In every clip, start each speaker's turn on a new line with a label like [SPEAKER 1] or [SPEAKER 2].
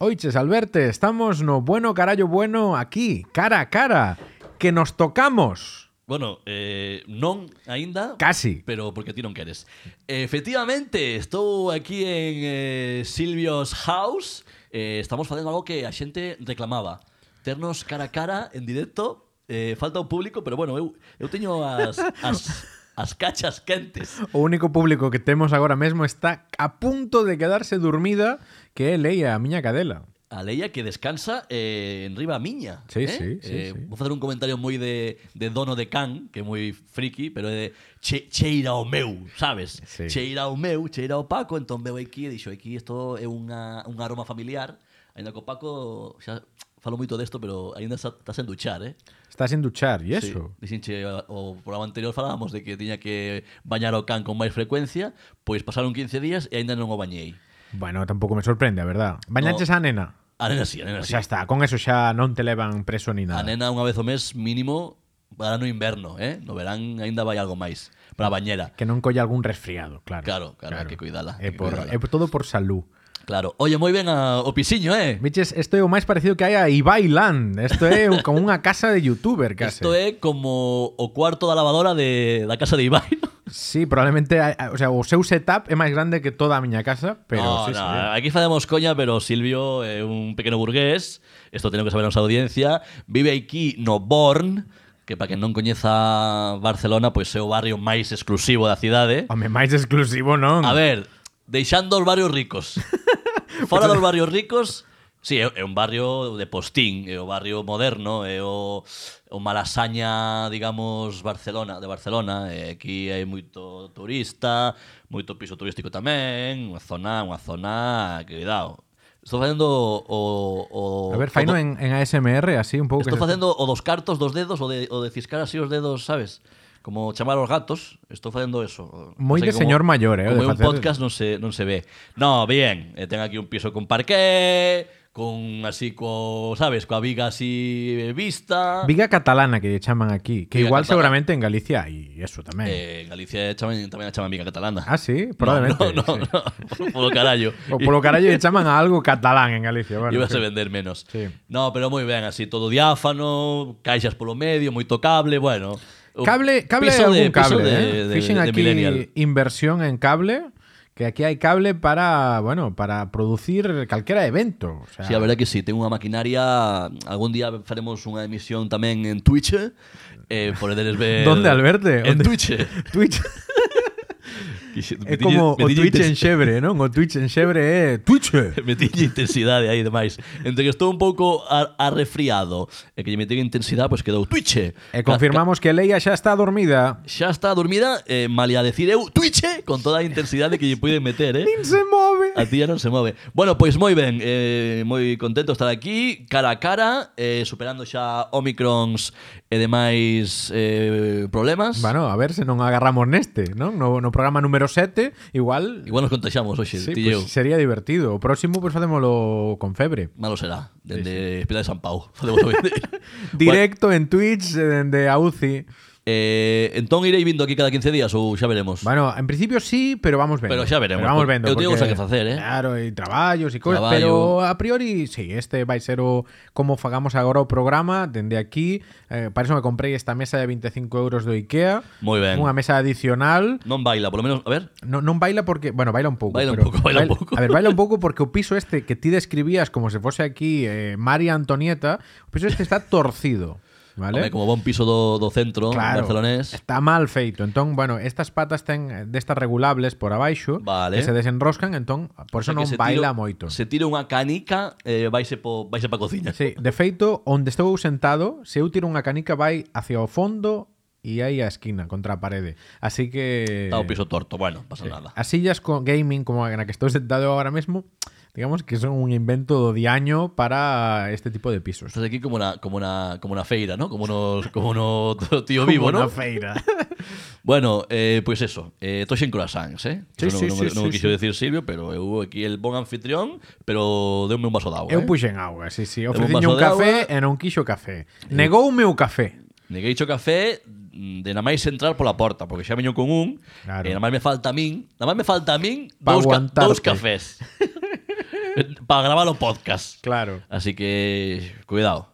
[SPEAKER 1] Oiches, Alberte, estamos no bueno carallo bueno aquí, cara a cara, que nos tocamos.
[SPEAKER 2] Bueno, eh, non aínda,
[SPEAKER 1] Casi.
[SPEAKER 2] pero porque ti non queres. Efectivamente, estou aquí en eh, Silvios House. Eh, estamos facendo algo que a xente reclamaba. Ternos cara a cara en directo. Eh, falta o público, pero bueno, eu, eu teño as, as, as cachas quentes.
[SPEAKER 1] O único público que temos agora mesmo está a punto de quedarse dormida que é Leia, a miña cadela.
[SPEAKER 2] A Leia que descansa eh, en riba miña.
[SPEAKER 1] Sí,
[SPEAKER 2] eh?
[SPEAKER 1] sí, sí,
[SPEAKER 2] eh,
[SPEAKER 1] sí.
[SPEAKER 2] Vou facer un comentario moi de, de dono de can, que é moi friki, pero é de che, cheira o meu, sabes?
[SPEAKER 1] Sí.
[SPEAKER 2] Cheira o meu, cheira o Paco, entón veu aquí e dixo aquí isto é unha, un aroma familiar. Ainda que o Paco, xa falo moito desto, pero ainda está, está sen duchar, eh?
[SPEAKER 1] Está sin duchar, e eso.
[SPEAKER 2] Sí. Dixen che, o programa anterior falábamos de que tiña que bañar o can con máis frecuencia, pois pasaron 15 días e aínda non o bañei.
[SPEAKER 1] Bueno, tampouco me sorprende, a verdad. Bañaches a nena.
[SPEAKER 2] A nena sí, a nena
[SPEAKER 1] Pues xa
[SPEAKER 2] sí.
[SPEAKER 1] está, con eso xa non te levan preso ni nada.
[SPEAKER 2] A nena unha vez o mes mínimo para no inverno, eh? No verán aínda vai algo máis para a bañera.
[SPEAKER 1] Que non colla algún resfriado, claro.
[SPEAKER 2] Claro, claro, hai que cuidala,
[SPEAKER 1] É
[SPEAKER 2] hai que
[SPEAKER 1] por,
[SPEAKER 2] cuidala.
[SPEAKER 1] é todo por salud.
[SPEAKER 2] Claro. Oye, moi ben a, o pixiño, eh?
[SPEAKER 1] Biches, isto é o máis parecido que hai a Ibai Land. Isto é un- como unha casa de youtuber, case.
[SPEAKER 2] Isto é como o cuarto da lavadora de da casa de Ibai. ¿no?
[SPEAKER 1] Sí, probablemente, hai- o sea, o seu setup é máis grande que toda a miña casa, pero
[SPEAKER 2] no,
[SPEAKER 1] sí,
[SPEAKER 2] no,
[SPEAKER 1] sí.
[SPEAKER 2] aquí facemos coña, pero Silvio é un pequeno burgués, isto teno que saber a nosa audiencia, vive aquí no Born, que para que non coñeza Barcelona, pois é o barrio máis exclusivo da cidade.
[SPEAKER 1] Home, máis exclusivo non.
[SPEAKER 2] A ver, deixando os barrios ricos. Fora dos barrios ricos, sí, é é un barrio de postín, é o barrio moderno, é o, o malasaña, digamos, Barcelona, de Barcelona. E aquí hai moito turista, moito piso turístico tamén, unha zona, unha zona, que cuidado. Estou facendo o... o
[SPEAKER 1] A ver, faino
[SPEAKER 2] o do-
[SPEAKER 1] en, en ASMR, así, un pouco. que
[SPEAKER 2] Estou
[SPEAKER 1] se-
[SPEAKER 2] facendo o dos cartos dos dedos, o de, o de ciscar así os dedos, sabes? Como chamar aos gatos, estou facendo eso.
[SPEAKER 1] Moi
[SPEAKER 2] Non sei
[SPEAKER 1] de señor maior, eh, o
[SPEAKER 2] Como
[SPEAKER 1] de
[SPEAKER 2] é un
[SPEAKER 1] facer-
[SPEAKER 2] podcast non se, non se ve. No, bien, eh, ten aquí un piso con parqué, con así co, sabes, coa viga así eh, vista.
[SPEAKER 1] Viga catalana que lle chaman aquí, que
[SPEAKER 2] Viga
[SPEAKER 1] igual
[SPEAKER 2] catalana.
[SPEAKER 1] seguramente en Galicia hai eso tamén.
[SPEAKER 2] Eh, en Galicia chaman, tamén a chaman viga catalana.
[SPEAKER 1] ah, sí, probablemente.
[SPEAKER 2] No, no,
[SPEAKER 1] sí.
[SPEAKER 2] no, no polo carallo.
[SPEAKER 1] O polo carallo lle chaman a algo catalán en Galicia, bueno.
[SPEAKER 2] Ibas
[SPEAKER 1] sí.
[SPEAKER 2] a vender menos.
[SPEAKER 1] Sí.
[SPEAKER 2] No, pero moi ben, así todo diáfano, caixas polo medio, moito cable, bueno. O
[SPEAKER 1] Cable, cable
[SPEAKER 2] piso
[SPEAKER 1] algún
[SPEAKER 2] de- piso
[SPEAKER 1] cable,
[SPEAKER 2] de-
[SPEAKER 1] eh.
[SPEAKER 2] de-
[SPEAKER 1] Fixen
[SPEAKER 2] de
[SPEAKER 1] aquí
[SPEAKER 2] millennial.
[SPEAKER 1] inversión en cable, que aquí hai cable para, bueno, para producir calquera evento, o sea,
[SPEAKER 2] Sí, a verdade que sí, ten unha maquinaria Algún día faremos unha emisión tamén en Twitch eh, Podedes ver
[SPEAKER 1] ¿Dónde, Alberte?
[SPEAKER 2] En
[SPEAKER 1] ¿Dónde?
[SPEAKER 2] Twitch
[SPEAKER 1] Twitch é como o Twitch en xebre, non? O Twitch en xebre é Twitch.
[SPEAKER 2] Me tiñe intensidade aí demais Entre que estou un pouco ar- arrefriado E que lle metí intensidade, pois quedou Twitch
[SPEAKER 1] E Eh, confirmamos que Leia xa está dormida.
[SPEAKER 2] Xa está dormida, eh, malia decir eu Twitch Con toda a intensidade que lle puiden meter, eh
[SPEAKER 1] Nin se move.
[SPEAKER 2] A tía non se move. Bueno, pois moi ben, eh, moi contento estar aquí, cara a cara, eh, superando xa Omicrons e demais eh, problemas.
[SPEAKER 1] Bueno, a ver se non agarramos neste, non? No, no programa número 7, igual,
[SPEAKER 2] Igual nos contaxamos hoxe,
[SPEAKER 1] sí,
[SPEAKER 2] sí, ti e eu.
[SPEAKER 1] pues, sería divertido. O próximo pues facémolo con febre.
[SPEAKER 2] Malo será, dende Pilar de San Pau. Falemos o vídeo.
[SPEAKER 1] Directo en Twitch eh, dende a UCI.
[SPEAKER 2] eh, entón irei vindo aquí cada 15 días ou xa veremos.
[SPEAKER 1] Bueno, en principio sí, pero vamos vendo.
[SPEAKER 2] Pero xa veremos,
[SPEAKER 1] Pero vamos
[SPEAKER 2] porque
[SPEAKER 1] vendo.
[SPEAKER 2] eu teño
[SPEAKER 1] porque,
[SPEAKER 2] cousas que facer, eh.
[SPEAKER 1] Claro, e traballos e cousas,
[SPEAKER 2] Traballo.
[SPEAKER 1] pero a priori sí, este vai ser o como fagamos agora o programa dende aquí. Eh, para eso me comprei esta mesa de 25 euros do IKEA.
[SPEAKER 2] Moi ben.
[SPEAKER 1] Unha mesa adicional.
[SPEAKER 2] Non baila, polo menos, a ver.
[SPEAKER 1] No, non baila porque, bueno, baila un pouco,
[SPEAKER 2] Baila un
[SPEAKER 1] pero
[SPEAKER 2] pouco, baila un pouco.
[SPEAKER 1] A ver, baila un pouco porque o piso este que ti describías como se fose aquí eh, María Antonieta, o piso este está torcido,
[SPEAKER 2] Home,
[SPEAKER 1] vale?
[SPEAKER 2] como bon piso do, do centro barcelonés.
[SPEAKER 1] Está mal feito. Entón, bueno, estas patas ten eh, destas regulables por abaixo que
[SPEAKER 2] Vale.
[SPEAKER 1] se desenroscan, entón por
[SPEAKER 2] O
[SPEAKER 1] eso
[SPEAKER 2] sea que
[SPEAKER 1] non
[SPEAKER 2] se
[SPEAKER 1] baila
[SPEAKER 2] tiro-
[SPEAKER 1] moito.
[SPEAKER 2] Se tira unha canica, eh, vaise, po, vaise pa cociña.
[SPEAKER 1] Sí, de feito, onde estou eu sentado, se eu tiro unha canica vai hacia o fondo e aí a esquina contra a parede. Así que
[SPEAKER 2] Está o piso torto, bueno, pasa nada.
[SPEAKER 1] As sillas con gaming como en la que estoy sentado ahora mismo, digamos que son un invento de año para este tipo de pisos.
[SPEAKER 2] Estás aquí como una, como una, como una feira, ¿no? Como unos, como uno tío
[SPEAKER 1] Como
[SPEAKER 2] vivo,
[SPEAKER 1] una
[SPEAKER 2] ¿no?
[SPEAKER 1] feira.
[SPEAKER 2] Bueno, eh, pues eso. Eh, todos en croissants, ¿eh?
[SPEAKER 1] Sí,
[SPEAKER 2] Eso
[SPEAKER 1] sí,
[SPEAKER 2] no,
[SPEAKER 1] sí,
[SPEAKER 2] no, no
[SPEAKER 1] sí, sí.
[SPEAKER 2] quiso decir Silvio, pero eu aquí el bon anfitrión, pero deume un vaso de agua,
[SPEAKER 1] Eu
[SPEAKER 2] eh?
[SPEAKER 1] puxen agua, sí, sí.
[SPEAKER 2] un
[SPEAKER 1] Ofreciño un
[SPEAKER 2] vaso de
[SPEAKER 1] café
[SPEAKER 2] agua.
[SPEAKER 1] e non quixo café. Negoume o café.
[SPEAKER 2] Neguei cho café mm, de nada máis entrar pola porta, porque xa veño con un, eh,
[SPEAKER 1] Claro.
[SPEAKER 2] e nada máis me falta a min, nada máis me falta a min
[SPEAKER 1] Pa
[SPEAKER 2] dous, ca,
[SPEAKER 1] aguantarte.
[SPEAKER 2] dous cafés. para gravar o podcast.
[SPEAKER 1] Claro,
[SPEAKER 2] Así que, cuidado.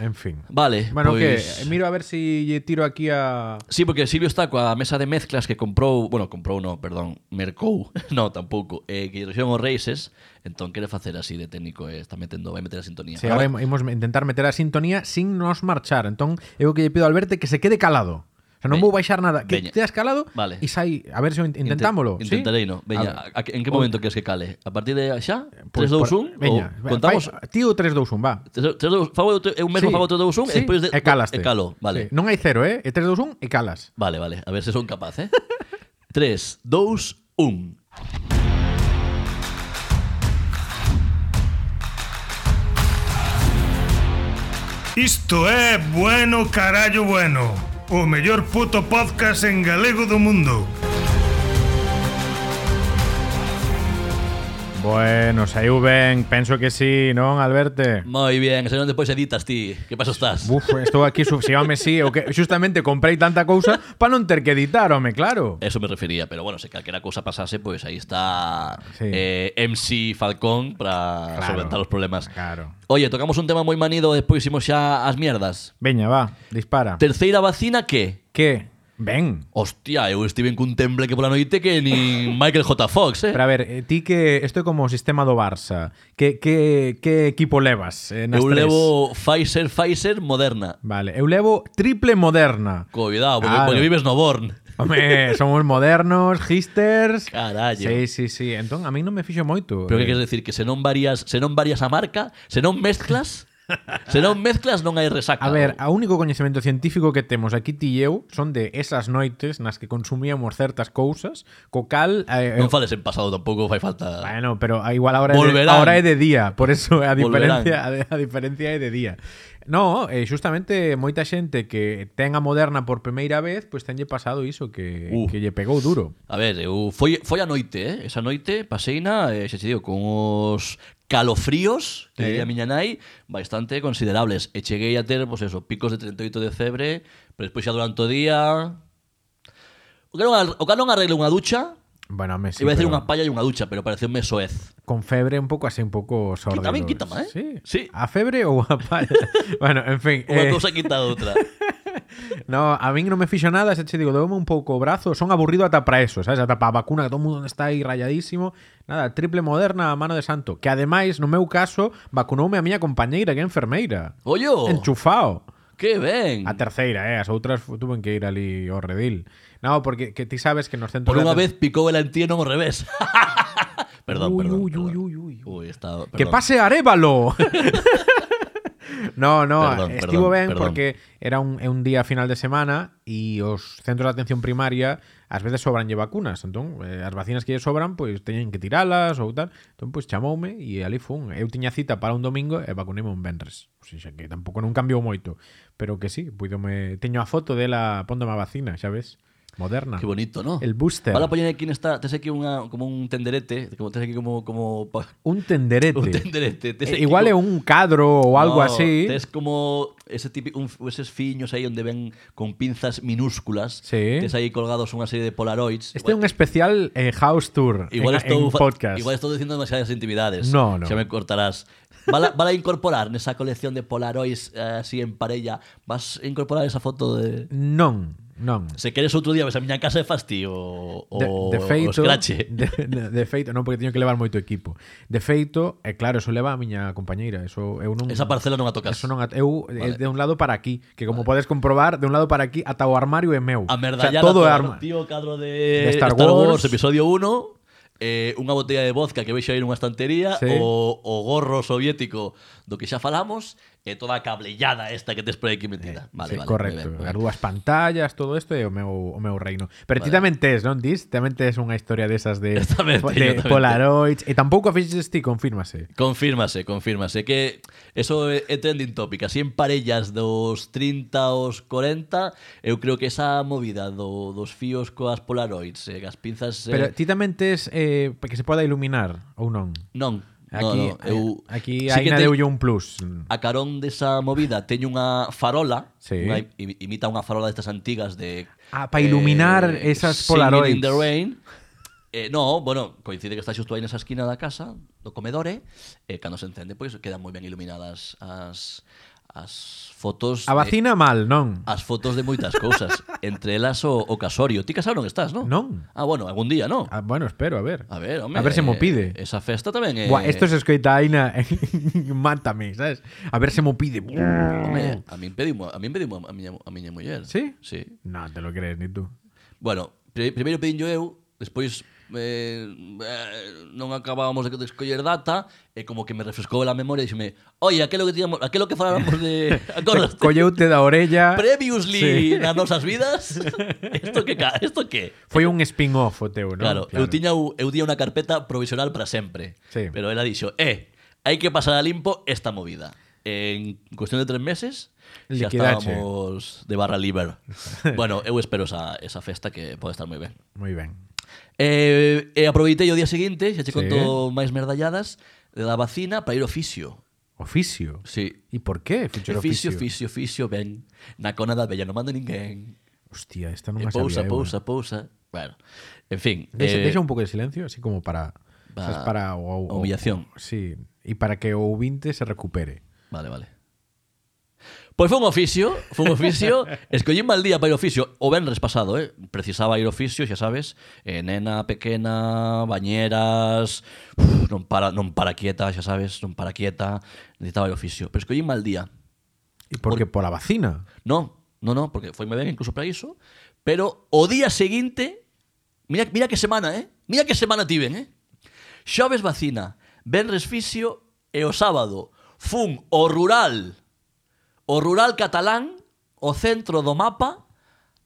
[SPEAKER 1] en fin.
[SPEAKER 2] Vale,
[SPEAKER 1] Bueno,
[SPEAKER 2] pois-
[SPEAKER 1] que miro a ver si tiro aquí a...
[SPEAKER 2] Sí, porque Silvio está coa mesa de mezclas que comprou, bueno, comprou no, perdón, mercou, no, tampouco, eh, que dirixión os Races, entón quere facer así de técnico, eh, está metendo, vai meter a sintonía.
[SPEAKER 1] Sí, ahora imos intentar meter a sintonía sin nos marchar. Entón, eu que lle pido a Alberto que se quede calado. O sea, non vou
[SPEAKER 2] Veña.
[SPEAKER 1] baixar nada. Que
[SPEAKER 2] Veña.
[SPEAKER 1] quedas calado
[SPEAKER 2] Vale.
[SPEAKER 1] e sai... A ver se o in-
[SPEAKER 2] Inte-
[SPEAKER 1] intentámolo. ¿sí?
[SPEAKER 2] Intentarei, no.
[SPEAKER 1] A
[SPEAKER 2] Veña, a, a, en que momento queres que cale? A partir de xa?
[SPEAKER 1] Pois
[SPEAKER 2] 3, 2,
[SPEAKER 1] pues por-
[SPEAKER 2] 1?
[SPEAKER 1] Veña,
[SPEAKER 2] ou contamos?
[SPEAKER 1] fai- Tío 3, 2, 1, va.
[SPEAKER 2] 3, 2, fago, eu te- eu
[SPEAKER 1] Sí.
[SPEAKER 2] mesmo fago 3, 2, 1
[SPEAKER 1] Sí,
[SPEAKER 2] e despois de,
[SPEAKER 1] e calaste.
[SPEAKER 2] E calo,
[SPEAKER 1] Sí.
[SPEAKER 2] vale.
[SPEAKER 1] Non hai cero, eh? E 3, 2, 1 e calas.
[SPEAKER 2] Vale, vale, a ver se son capaz, eh? 3, 2, 1.
[SPEAKER 3] Isto é Bueno Carallo Bueno O mellor puto podcast en galego do mundo
[SPEAKER 1] Bueno, saiu ben. Penso que sí, non, Alberto?
[SPEAKER 2] Moi bien, senón despois editas ti. Que paso estás?
[SPEAKER 1] Buf, estou aquí subsidiándome, sí, o que justamente comprei tanta cousa para non ter que editar, home, claro.
[SPEAKER 2] Eso me refería, pero bueno, si cualquiera cosa pasase, pues ahí está
[SPEAKER 1] Sí.
[SPEAKER 2] eh, MC Falcón para
[SPEAKER 1] Claro.
[SPEAKER 2] solventar los problemas.
[SPEAKER 1] Claro.
[SPEAKER 2] Oye, tocamos un tema muy manido, después hicimos ya as mierdas.
[SPEAKER 1] Veña, va, dispara.
[SPEAKER 2] Terceira vacina que?
[SPEAKER 1] Que? Ben.
[SPEAKER 2] Hostia, eu estive en un temple que pola noite que ni Michael J. Fox, eh?
[SPEAKER 1] Pero a ver, eh, ti que isto é como o sistema do Barça. Que, que, que equipo levas eh, nas
[SPEAKER 2] eu
[SPEAKER 1] tres?
[SPEAKER 2] levo Pfizer, Pfizer, Moderna.
[SPEAKER 1] Vale, eu levo triple moderna.
[SPEAKER 2] Cuidado, porque,
[SPEAKER 1] Claro. Pues
[SPEAKER 2] porque vives no Born.
[SPEAKER 1] Home, somos modernos, histers...
[SPEAKER 2] Carallo.
[SPEAKER 1] Sí, sí, sí. Entón, a mí non me fixo moito.
[SPEAKER 2] Pero
[SPEAKER 1] Eh,
[SPEAKER 2] que queres decir? Que se non varias, se non varias a marca, se non mezclas, se non mezclas non hai resaca.
[SPEAKER 1] A ver, o único coñecemento científico que temos aquí ti e eu son de esas noites nas que consumíamos certas cousas, co cal... Eh, eh,
[SPEAKER 2] non fales en pasado tampouco, fai falta.
[SPEAKER 1] bueno, pero a igual ahora é, de,
[SPEAKER 2] Volverán.
[SPEAKER 1] ahora é de día, por eso a
[SPEAKER 2] Volverán.
[SPEAKER 1] diferencia a, de- a diferencia é de día. No, eh, justamente moita xente que ten a moderna por primeira vez, pois pues tenlle pasado iso que,
[SPEAKER 2] Uh.
[SPEAKER 1] que lle pegou duro.
[SPEAKER 2] A ver, eu foi, foi a noite, eh? Esa noite paseina, eh, xa te digo, con os calofríos, que
[SPEAKER 1] Sí.
[SPEAKER 2] diría a miña nai, bastante considerables. E cheguei a ter, pois eso, picos de 38 de febre, pero despois xa durante o día... O que non, ar- o que non arregle unha ducha,
[SPEAKER 1] Bueno, me sí,
[SPEAKER 2] iba a decir
[SPEAKER 1] pero
[SPEAKER 2] unha palla e unha ducha, pero pareceu un soez.
[SPEAKER 1] con febre un pouco así, un pouco sordo.
[SPEAKER 2] tamén quítame, eh?
[SPEAKER 1] Sí.
[SPEAKER 2] Sí.
[SPEAKER 1] A febre ou a palla. bueno, en fin. eh,
[SPEAKER 2] Unha cousa quita a outra.
[SPEAKER 1] No, a min non me fixo nada, xa che digo, deume un pouco o brazo, son aburrido ata para eso, sabes? Ata para a vacuna que todo mundo está aí rayadísimo. Nada, triple moderna a mano de santo, que ademais, no meu caso, vacunoume a miña compañeira que é enfermeira.
[SPEAKER 2] Ollo,
[SPEAKER 1] Enchufao.
[SPEAKER 2] que ben.
[SPEAKER 1] A terceira, eh, as outras fu- tuven que ir ali ao redil. No, porque que ti sabes que nos centros
[SPEAKER 2] Por
[SPEAKER 1] de
[SPEAKER 2] unha
[SPEAKER 1] aten-
[SPEAKER 2] vez picou el antío e non ao revés. perdón,
[SPEAKER 1] Uy,
[SPEAKER 2] perdón,
[SPEAKER 1] uy,
[SPEAKER 2] perdón.
[SPEAKER 1] uy, uy, uy.
[SPEAKER 2] Uy, está, perdón.
[SPEAKER 1] ¡Que pase Arevalo! no, no,
[SPEAKER 2] Perdón,
[SPEAKER 1] estivo
[SPEAKER 2] perdón,
[SPEAKER 1] ben
[SPEAKER 2] perdón.
[SPEAKER 1] porque era un, é un día final de semana e os centros de atención primaria ás veces sobranlle vacunas, entón eh, as vacinas que lle sobran, pois teñen que tiralas ou tal, entón pois chamoume e ali fun eu tiña cita para un domingo e vacuneime un venres, o sea, que tampouco non cambiou moito pero que sí, puidome teño a foto dela póndome a vacina, xa ves moderna,
[SPEAKER 2] Qué bonito, ¿no?
[SPEAKER 1] el booster
[SPEAKER 2] Vale, poñer aquí nesta, tes aquí unha, como un tenderete, como tes aquí como como pa-
[SPEAKER 1] un tenderete,
[SPEAKER 2] un tenderete, tes
[SPEAKER 1] Eh,
[SPEAKER 2] aquí
[SPEAKER 1] igual é
[SPEAKER 2] como-
[SPEAKER 1] un cadro ou algo
[SPEAKER 2] No,
[SPEAKER 1] así
[SPEAKER 2] Tes como ese típico un, eses fiños aí onde ven con pinzas minúsculas.
[SPEAKER 1] Sí.
[SPEAKER 2] Tes aí colgados unha serie de Polaroids.
[SPEAKER 1] Este é un especial eh, House Tour
[SPEAKER 2] igual
[SPEAKER 1] en,
[SPEAKER 2] estou
[SPEAKER 1] en
[SPEAKER 2] fa-
[SPEAKER 1] podcast.
[SPEAKER 2] Igual estou dicindo demasiadas intimidades.
[SPEAKER 1] No, no.
[SPEAKER 2] Xa me cortarás. Vala, vala incorporar nesa colección de Polaroids eh, así en parella, vas a incorporar esa foto de
[SPEAKER 1] Non, non.
[SPEAKER 2] Se queres outro día ves a miña casa e fasti o o,
[SPEAKER 1] de, de feito,
[SPEAKER 2] o escrache.
[SPEAKER 1] De, de, de feito, non, porque teño que levar moito equipo. De feito, é claro, eso leva a miña compañeira, eso eu non
[SPEAKER 2] Mm. Esa parcela non a tocas.
[SPEAKER 1] Eso non, at- eu vale.
[SPEAKER 2] Vale.
[SPEAKER 1] de un lado para aquí, que como vale. podes comprobar, de un lado para aquí ata o armario é meu.
[SPEAKER 2] A
[SPEAKER 1] o sea,
[SPEAKER 2] merdallar
[SPEAKER 1] todo é
[SPEAKER 2] a
[SPEAKER 1] arma.
[SPEAKER 2] tío cadro
[SPEAKER 1] De
[SPEAKER 2] de,
[SPEAKER 1] Star
[SPEAKER 2] Star,
[SPEAKER 1] Wars,
[SPEAKER 2] Wars. episodio 1 eh, unha botella de vodka que vexo aí nunha estantería
[SPEAKER 1] Sí.
[SPEAKER 2] o, o gorro soviético do que xa falamos e toda a cablellada esta que tes por aquí metida
[SPEAKER 1] Eh, sí,
[SPEAKER 2] vale, vale,
[SPEAKER 1] correcto.
[SPEAKER 2] moi ben, moi
[SPEAKER 1] As
[SPEAKER 2] ben.
[SPEAKER 1] dúas pantallas, todo isto é o meu, o meu reino. Pero ti tamén tes, non dis? Tamén tes unha historia desas de,
[SPEAKER 2] Tamén teño,
[SPEAKER 1] de
[SPEAKER 2] tamén teño.
[SPEAKER 1] Polaroids. E tampouco a fixes ti, confírmase.
[SPEAKER 2] Confírmase, confírmase que eso é, é trending topic, así en parellas dos 30 aos 40, eu creo que esa movida do, dos fíos coas polaroids, eh, as pinzas eh,
[SPEAKER 1] Pero ti tamén tes eh, que se poda iluminar ou non?
[SPEAKER 2] non,
[SPEAKER 1] Aquí, eh,
[SPEAKER 2] non, non, eu
[SPEAKER 1] aquí
[SPEAKER 2] sí
[SPEAKER 1] aí
[SPEAKER 2] que
[SPEAKER 1] na
[SPEAKER 2] te-
[SPEAKER 1] deulle un plus.
[SPEAKER 2] a carón desa movida teño unha farola,
[SPEAKER 1] Sí.
[SPEAKER 2] unha, im- imita unha farola destas antigas de eh,
[SPEAKER 1] Ah, pa iluminar esas
[SPEAKER 2] Singing
[SPEAKER 1] Polaroids.
[SPEAKER 2] in the rain. Eh, no, bueno, coincide que está xusto aí nesa esquina da casa, do comedore, e cando se encende, pois quedan moi ben iluminadas as as fotos
[SPEAKER 1] A
[SPEAKER 2] de-
[SPEAKER 1] vacina mal, non?
[SPEAKER 2] as fotos de moitas cousas, entre elas o, o casorio. Ti casado non estás, non?
[SPEAKER 1] Non.
[SPEAKER 2] Ah, bueno, algún día, non?
[SPEAKER 1] Ah, bueno, espero, a ver.
[SPEAKER 2] A ver,
[SPEAKER 1] A
[SPEAKER 2] home.
[SPEAKER 1] ver se mo
[SPEAKER 2] eh,
[SPEAKER 1] pide.
[SPEAKER 2] Esa festa tamén é...
[SPEAKER 1] Buah, esto se escoita Aina eh, Mátame, sabes? A ver se mo pide
[SPEAKER 2] Home, a min pedimos a min pedimos a miña a miña muller.
[SPEAKER 1] Mm. Sí?
[SPEAKER 2] Sí.
[SPEAKER 1] No, te lo crees, ni tú
[SPEAKER 2] Bueno, pri- primeiro pedinllo eu, despois eh, eh, non acabábamos de, de escoller data e como que me refrescou a memoria e dixeme, "Oye, aquelo que tiñamos, aquelo que faláramos de acordaste?
[SPEAKER 1] Colleute da orella
[SPEAKER 2] previously nas nosas vidas?" Isto que ca- isto que?
[SPEAKER 1] Foi un spin-off o teu, non?
[SPEAKER 2] Claro, eu tiña u- eu tiña unha carpeta provisional para sempre.
[SPEAKER 1] Sí.
[SPEAKER 2] Pero ela dixo, "Eh, hai que pasar a limpo esta movida." En cuestión de tres meses xa
[SPEAKER 1] Liquidache.
[SPEAKER 2] estábamos de barra libre. bueno, eu espero esa, esa festa que pode estar moi ben.
[SPEAKER 1] Moi ben
[SPEAKER 2] Eh, E, e aproveitei o día seguinte, xa che
[SPEAKER 1] Sí.
[SPEAKER 2] conto máis merdalladas, da vacina para ir ao fisio.
[SPEAKER 1] Oficio
[SPEAKER 2] Sí.
[SPEAKER 1] E por qué? Fichar
[SPEAKER 2] E fisio,
[SPEAKER 1] oficio,
[SPEAKER 2] fisio, fisio, ben. Na cona da bella non manda ninguén.
[SPEAKER 1] Hostia, esta non me
[SPEAKER 2] E pousa,
[SPEAKER 1] sabía eu,
[SPEAKER 2] pousa, pousa. Bueno, en fin.
[SPEAKER 1] Deixa,
[SPEAKER 2] eh,
[SPEAKER 1] deixa un pouco de silencio, así como para
[SPEAKER 2] Va-
[SPEAKER 1] sabes, para o, o-
[SPEAKER 2] humillación.
[SPEAKER 1] o- sí, e para que o ouvinte se recupere.
[SPEAKER 2] Vale, vale. Pois foi un oficio, foi un oficio, escollín mal día para ir ao oficio, o venres pasado, eh? precisaba ir ao oficio, xa sabes, eh, nena pequena, bañeras, uf, non, para, non para quieta, xa sabes, non para quieta, necesitaba ir ao oficio, pero escollín mal día.
[SPEAKER 1] E porque pola vacina.
[SPEAKER 2] Non, non, non, porque foi moi ben incluso para iso, pero o día seguinte, mira, mira que semana, eh? Mira que semana tiven, eh? Xoves vacina, venres fisio e o sábado fun o rural, o rural catalán, o centro do mapa,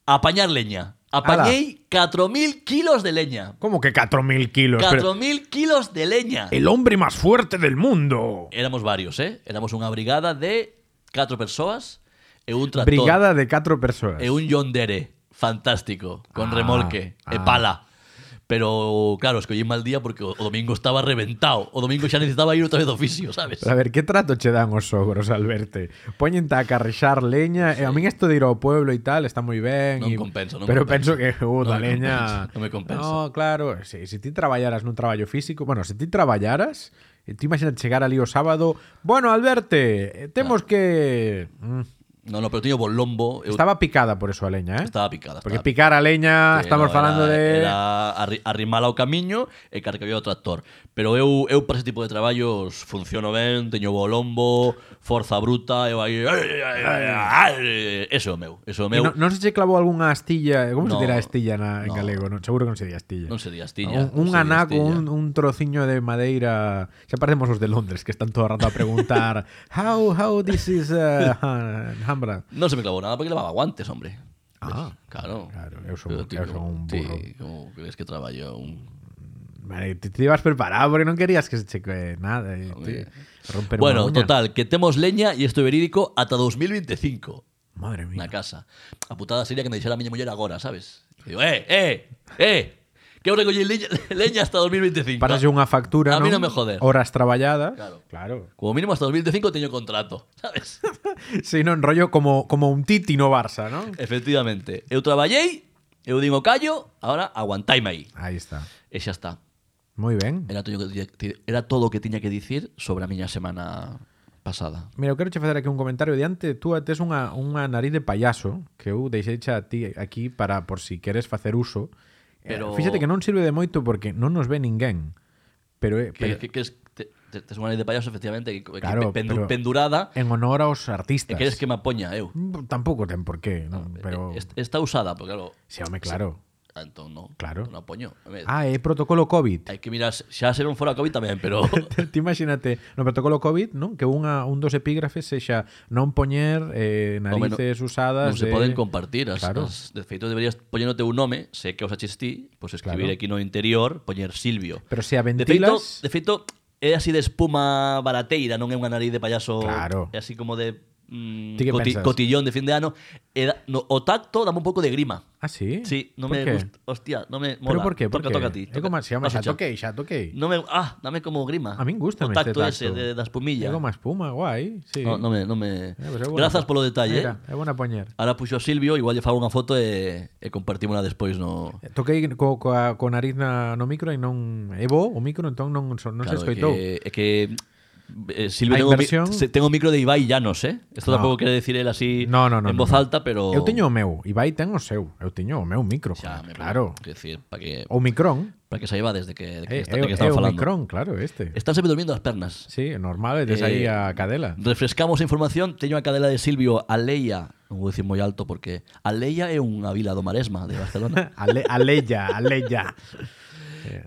[SPEAKER 2] a apañar leña. Apañei 4.000 kilos de leña.
[SPEAKER 1] Como que 4000 kilos, pero
[SPEAKER 2] 4.000 kilos de leña.
[SPEAKER 1] el hombre más fuerte del mundo.
[SPEAKER 2] Éramos varios, eh? Éramos unha brigada de 4 persoas e un tractor.
[SPEAKER 1] Brigada de 4 persoas.
[SPEAKER 2] É Eh, un yondere fantástico, con
[SPEAKER 1] Ah,
[SPEAKER 2] remolque
[SPEAKER 1] ah.
[SPEAKER 2] e pala. Pero claro, escollí mal día porque o o domingo estaba reventado. O domingo xa necesitaba ir outra vez do oficio, sabes?
[SPEAKER 1] Pero a ver, que trato che dan os sogros al verte? Poñente a carrexar leña, e a min isto de ir ao pueblo e tal está moi ben,
[SPEAKER 2] Non
[SPEAKER 1] e-
[SPEAKER 2] compensa, non
[SPEAKER 1] pero penso
[SPEAKER 2] compensa.
[SPEAKER 1] que uh,
[SPEAKER 2] Non
[SPEAKER 1] da
[SPEAKER 2] me
[SPEAKER 1] leña.
[SPEAKER 2] compensa, non me compensa.
[SPEAKER 1] No, claro, se si, ti traballaras nun traballo físico, bueno, se ti traballaras, eh, ti imagina chegar ali o sábado, bueno, Alberte, eh, temos que mm,
[SPEAKER 2] No, no, pero tiño bolombo. Eu
[SPEAKER 1] estaba picada por eso a leña, eh?
[SPEAKER 2] estaba picada.
[SPEAKER 1] Porque
[SPEAKER 2] estaba
[SPEAKER 1] picar a leña,
[SPEAKER 2] Sí,
[SPEAKER 1] estamos
[SPEAKER 2] no,
[SPEAKER 1] falando
[SPEAKER 2] era-
[SPEAKER 1] de
[SPEAKER 2] Era arri- arrimala o camiño e carcabía o tractor. Pero eu, eu para ese tipo de traballos funciono ben, teño bolombo, forza bruta, eu aí... Eso é o meu, eso é o
[SPEAKER 1] E
[SPEAKER 2] meu.
[SPEAKER 1] no- non se che clavou algunha astilla, como se
[SPEAKER 2] No,
[SPEAKER 1] dirá astilla na, en
[SPEAKER 2] no.
[SPEAKER 1] galego, non, seguro que non se di astilla.
[SPEAKER 2] Non se di astilla,
[SPEAKER 1] Un, un
[SPEAKER 2] non se di
[SPEAKER 1] anaco,
[SPEAKER 2] astilla.
[SPEAKER 1] un, un trociño de madeira, xa parecemos os de Londres que están todo o rato a preguntar how how this is uh, Alhambra.
[SPEAKER 2] No se me clavó nada porque levaba guantes, hombre.
[SPEAKER 1] Ah,
[SPEAKER 2] claro.
[SPEAKER 1] claro, eu son-
[SPEAKER 2] Pero ti
[SPEAKER 1] eu son un
[SPEAKER 2] como-
[SPEAKER 1] burro.
[SPEAKER 2] Ti, como crees que traballo un...
[SPEAKER 1] Vale, te, te ibas preparado porque non querías que se cheque nada, e te romper unha
[SPEAKER 2] Bueno,
[SPEAKER 1] uña.
[SPEAKER 2] total, que temos leña e isto é verídico ata 2025
[SPEAKER 1] Madre mía.
[SPEAKER 2] na casa. A putada sería que me dixera a miña muller agora, sabes? E Digo, eh, eh, eh, que eu recollí leña, leña hasta 2025.
[SPEAKER 1] Pásase unha factura,
[SPEAKER 2] A mí
[SPEAKER 1] non?
[SPEAKER 2] non me joder.
[SPEAKER 1] Horas traballadas.
[SPEAKER 2] Claro.
[SPEAKER 1] claro.
[SPEAKER 2] Como mínimo hasta 2025 teño contrato, sabes?
[SPEAKER 1] Si non, rollo como, como un titi no Barça, non?
[SPEAKER 2] Efectivamente. Eu traballei, eu digo callo, ahora aguantaime aí.
[SPEAKER 1] Aí está.
[SPEAKER 2] E xa está.
[SPEAKER 1] Moi ben.
[SPEAKER 2] Era todo, o que tiña que ti- era todo o que tiña que dicir sobre a miña semana pasada.
[SPEAKER 1] Mira, eu quero che facer aquí un comentario diante Tú tes unha, unha nariz de payaso Que eu deixei a ti aquí para Por si queres facer uso Pero...
[SPEAKER 2] Pero-
[SPEAKER 1] Fíxate que non sirve de moito porque non nos ve ninguén Pero, é-
[SPEAKER 2] Que,
[SPEAKER 1] pero
[SPEAKER 2] que, que es, te, te, tes unha nariz de payaso, efectivamente, que, que
[SPEAKER 1] Claro,
[SPEAKER 2] pendu-
[SPEAKER 1] pero-
[SPEAKER 2] pendurada,
[SPEAKER 1] en honor aos
[SPEAKER 2] e
[SPEAKER 1] artistas
[SPEAKER 2] queres que me apoña, eu. Eh,
[SPEAKER 1] Mm, Tampouco ten por qué non? Pero,
[SPEAKER 2] Est- Está usada, porque claro,
[SPEAKER 1] si, home, claro
[SPEAKER 2] ah, entón non,
[SPEAKER 1] Claro.
[SPEAKER 2] non apoño. A ver,
[SPEAKER 1] Ah, é protocolo COVID
[SPEAKER 2] Hai que mirar, se- xa ser un fora COVID tamén, pero...
[SPEAKER 1] Ti imagínate no protocolo COVID non que unha, un dos epígrafes sexa non poñer eh,
[SPEAKER 2] home, non-
[SPEAKER 1] narices usadas
[SPEAKER 2] non se
[SPEAKER 1] de...
[SPEAKER 2] poden compartir as,
[SPEAKER 1] Claro.
[SPEAKER 2] as, de feito deberías poñer o teu nome se que os achistí pois escribir
[SPEAKER 1] Claro.
[SPEAKER 2] aquí no interior poñer Silvio
[SPEAKER 1] Pero se a
[SPEAKER 2] De feito,
[SPEAKER 1] ventilas
[SPEAKER 2] de feito, é así de espuma barateira, non é unha nariz de payaso.
[SPEAKER 1] Claro.
[SPEAKER 2] É así como de mm,
[SPEAKER 1] Ti que
[SPEAKER 2] coti-
[SPEAKER 1] pensas?
[SPEAKER 2] cotillón de fin de ano, e da- no, o tacto dame un pouco de grima.
[SPEAKER 1] Ah, sí?
[SPEAKER 2] Sí, no
[SPEAKER 1] ¿Por
[SPEAKER 2] me
[SPEAKER 1] qué?
[SPEAKER 2] gusta. Hostia, no me mola.
[SPEAKER 1] ¿Pero por qué? ¿Por qué?
[SPEAKER 2] toca, toca a ti.
[SPEAKER 1] É como,
[SPEAKER 2] toca.
[SPEAKER 1] se llama
[SPEAKER 2] Vas a
[SPEAKER 1] xa
[SPEAKER 2] echar.
[SPEAKER 1] toquei, xa toquei.
[SPEAKER 2] No me, ah, dame como grima.
[SPEAKER 1] A min gusta
[SPEAKER 2] O
[SPEAKER 1] este tacto.
[SPEAKER 2] tacto ese de, da
[SPEAKER 1] É
[SPEAKER 2] espumilla.
[SPEAKER 1] como a espuma, guai. Sí.
[SPEAKER 2] No, no me, no me...
[SPEAKER 1] Eh, pues é buena
[SPEAKER 2] Grazas
[SPEAKER 1] po-
[SPEAKER 2] polo detalle.
[SPEAKER 1] Mira,
[SPEAKER 2] eh.
[SPEAKER 1] é buena poñer.
[SPEAKER 2] Ahora puxo a Silvio, igual lle fago unha foto e, e compartímola despois no...
[SPEAKER 1] Toquei co, coa, co nariz na, no micro e non... É bo o micro, entón non, so- non se
[SPEAKER 2] é
[SPEAKER 1] escoitou.
[SPEAKER 2] que- É que, eh,
[SPEAKER 1] A
[SPEAKER 2] Silvio tengo, mi-
[SPEAKER 1] inversión-
[SPEAKER 2] se- tengo micro de Ibai Llanos, eh? Esto
[SPEAKER 1] No.
[SPEAKER 2] tampouco quere decir él así
[SPEAKER 1] No, no, no,
[SPEAKER 2] en
[SPEAKER 1] no,
[SPEAKER 2] voz
[SPEAKER 1] no.
[SPEAKER 2] alta, pero...
[SPEAKER 1] Eu teño o meu, Ibai ten o seu. Eu teño o meu micro,
[SPEAKER 2] Xa, me-
[SPEAKER 1] claro. Oh. Eh,
[SPEAKER 2] Quer decir, para que,
[SPEAKER 1] O micrón.
[SPEAKER 2] para que saiba desde que, de
[SPEAKER 1] É,
[SPEAKER 2] que, está,
[SPEAKER 1] é,
[SPEAKER 2] de que
[SPEAKER 1] é
[SPEAKER 2] estamos
[SPEAKER 1] o
[SPEAKER 2] falando.
[SPEAKER 1] micrón, claro, este.
[SPEAKER 2] Están sempre durmiendo as pernas.
[SPEAKER 1] Sí, é normal, tes
[SPEAKER 2] Eh,
[SPEAKER 1] aí a cadela.
[SPEAKER 2] Refrescamos a información, teño a cadela de Silvio Aleia, non vou dicir moi alto porque Aleia é unha vila do Maresma de Barcelona.
[SPEAKER 1] Ale, aleya, aleya.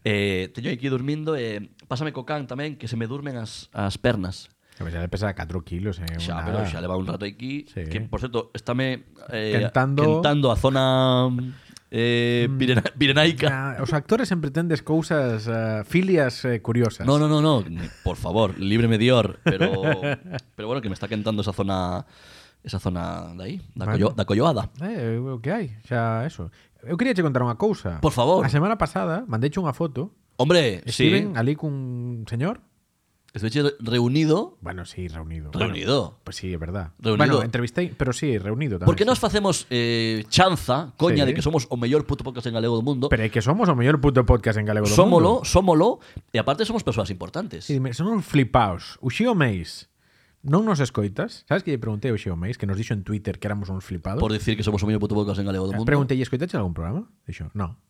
[SPEAKER 2] eh, teño aquí dormindo e pásame co can tamén que se me durmen as, as pernas.
[SPEAKER 1] A ver, xa le pesa 4 kilos, eh,
[SPEAKER 2] Xa,
[SPEAKER 1] nada.
[SPEAKER 2] pero xa leva un rato aquí
[SPEAKER 1] Sí.
[SPEAKER 2] que por certo, estáme eh,
[SPEAKER 1] Quentando.
[SPEAKER 2] quentando a zona eh,
[SPEAKER 1] Mm.
[SPEAKER 2] pirena- pirenaica.
[SPEAKER 1] Na- Os actores sempre tendes cousas, eh, filias eh, curiosas.
[SPEAKER 2] No, no, no, no, por favor, líbreme Dior, pero pero bueno, que me está quentando esa zona esa zona de aí, da,
[SPEAKER 1] Bueno.
[SPEAKER 2] collo, da colloada.
[SPEAKER 1] Eh, é o que hai, xa eso. Eu queria che contar unha cousa.
[SPEAKER 2] Por favor.
[SPEAKER 1] A semana pasada mandeiche unha foto.
[SPEAKER 2] Hombre, sí,
[SPEAKER 1] Estiven ali cun señor.
[SPEAKER 2] Estuve reunido.
[SPEAKER 1] Bueno, sí, reunido.
[SPEAKER 2] Reunido.
[SPEAKER 1] Bueno, pues sí, é verdad.
[SPEAKER 2] Reunido.
[SPEAKER 1] Bueno, entrevistei, pero sí, reunido tamén.
[SPEAKER 2] Porque nos facemos eh, chanza, coña,
[SPEAKER 1] Sí.
[SPEAKER 2] de que somos o mellor puto podcast en galego do mundo.
[SPEAKER 1] Pero é que somos o mellor puto podcast en galego do
[SPEAKER 2] Somolo,
[SPEAKER 1] mundo.
[SPEAKER 2] somolo, e aparte somos persoas importantes.
[SPEAKER 1] Sí, dime, son uns flipaos. O Xio Meis non nos escoitas. Sabes que lle preguntei ao Xio Meis que nos dixo en Twitter que éramos uns flipados? Ah,
[SPEAKER 2] Por decir que somos o mellor puto podcast en galego do mundo.
[SPEAKER 1] Preguntei, escoitaste algún programa? Dixo, non.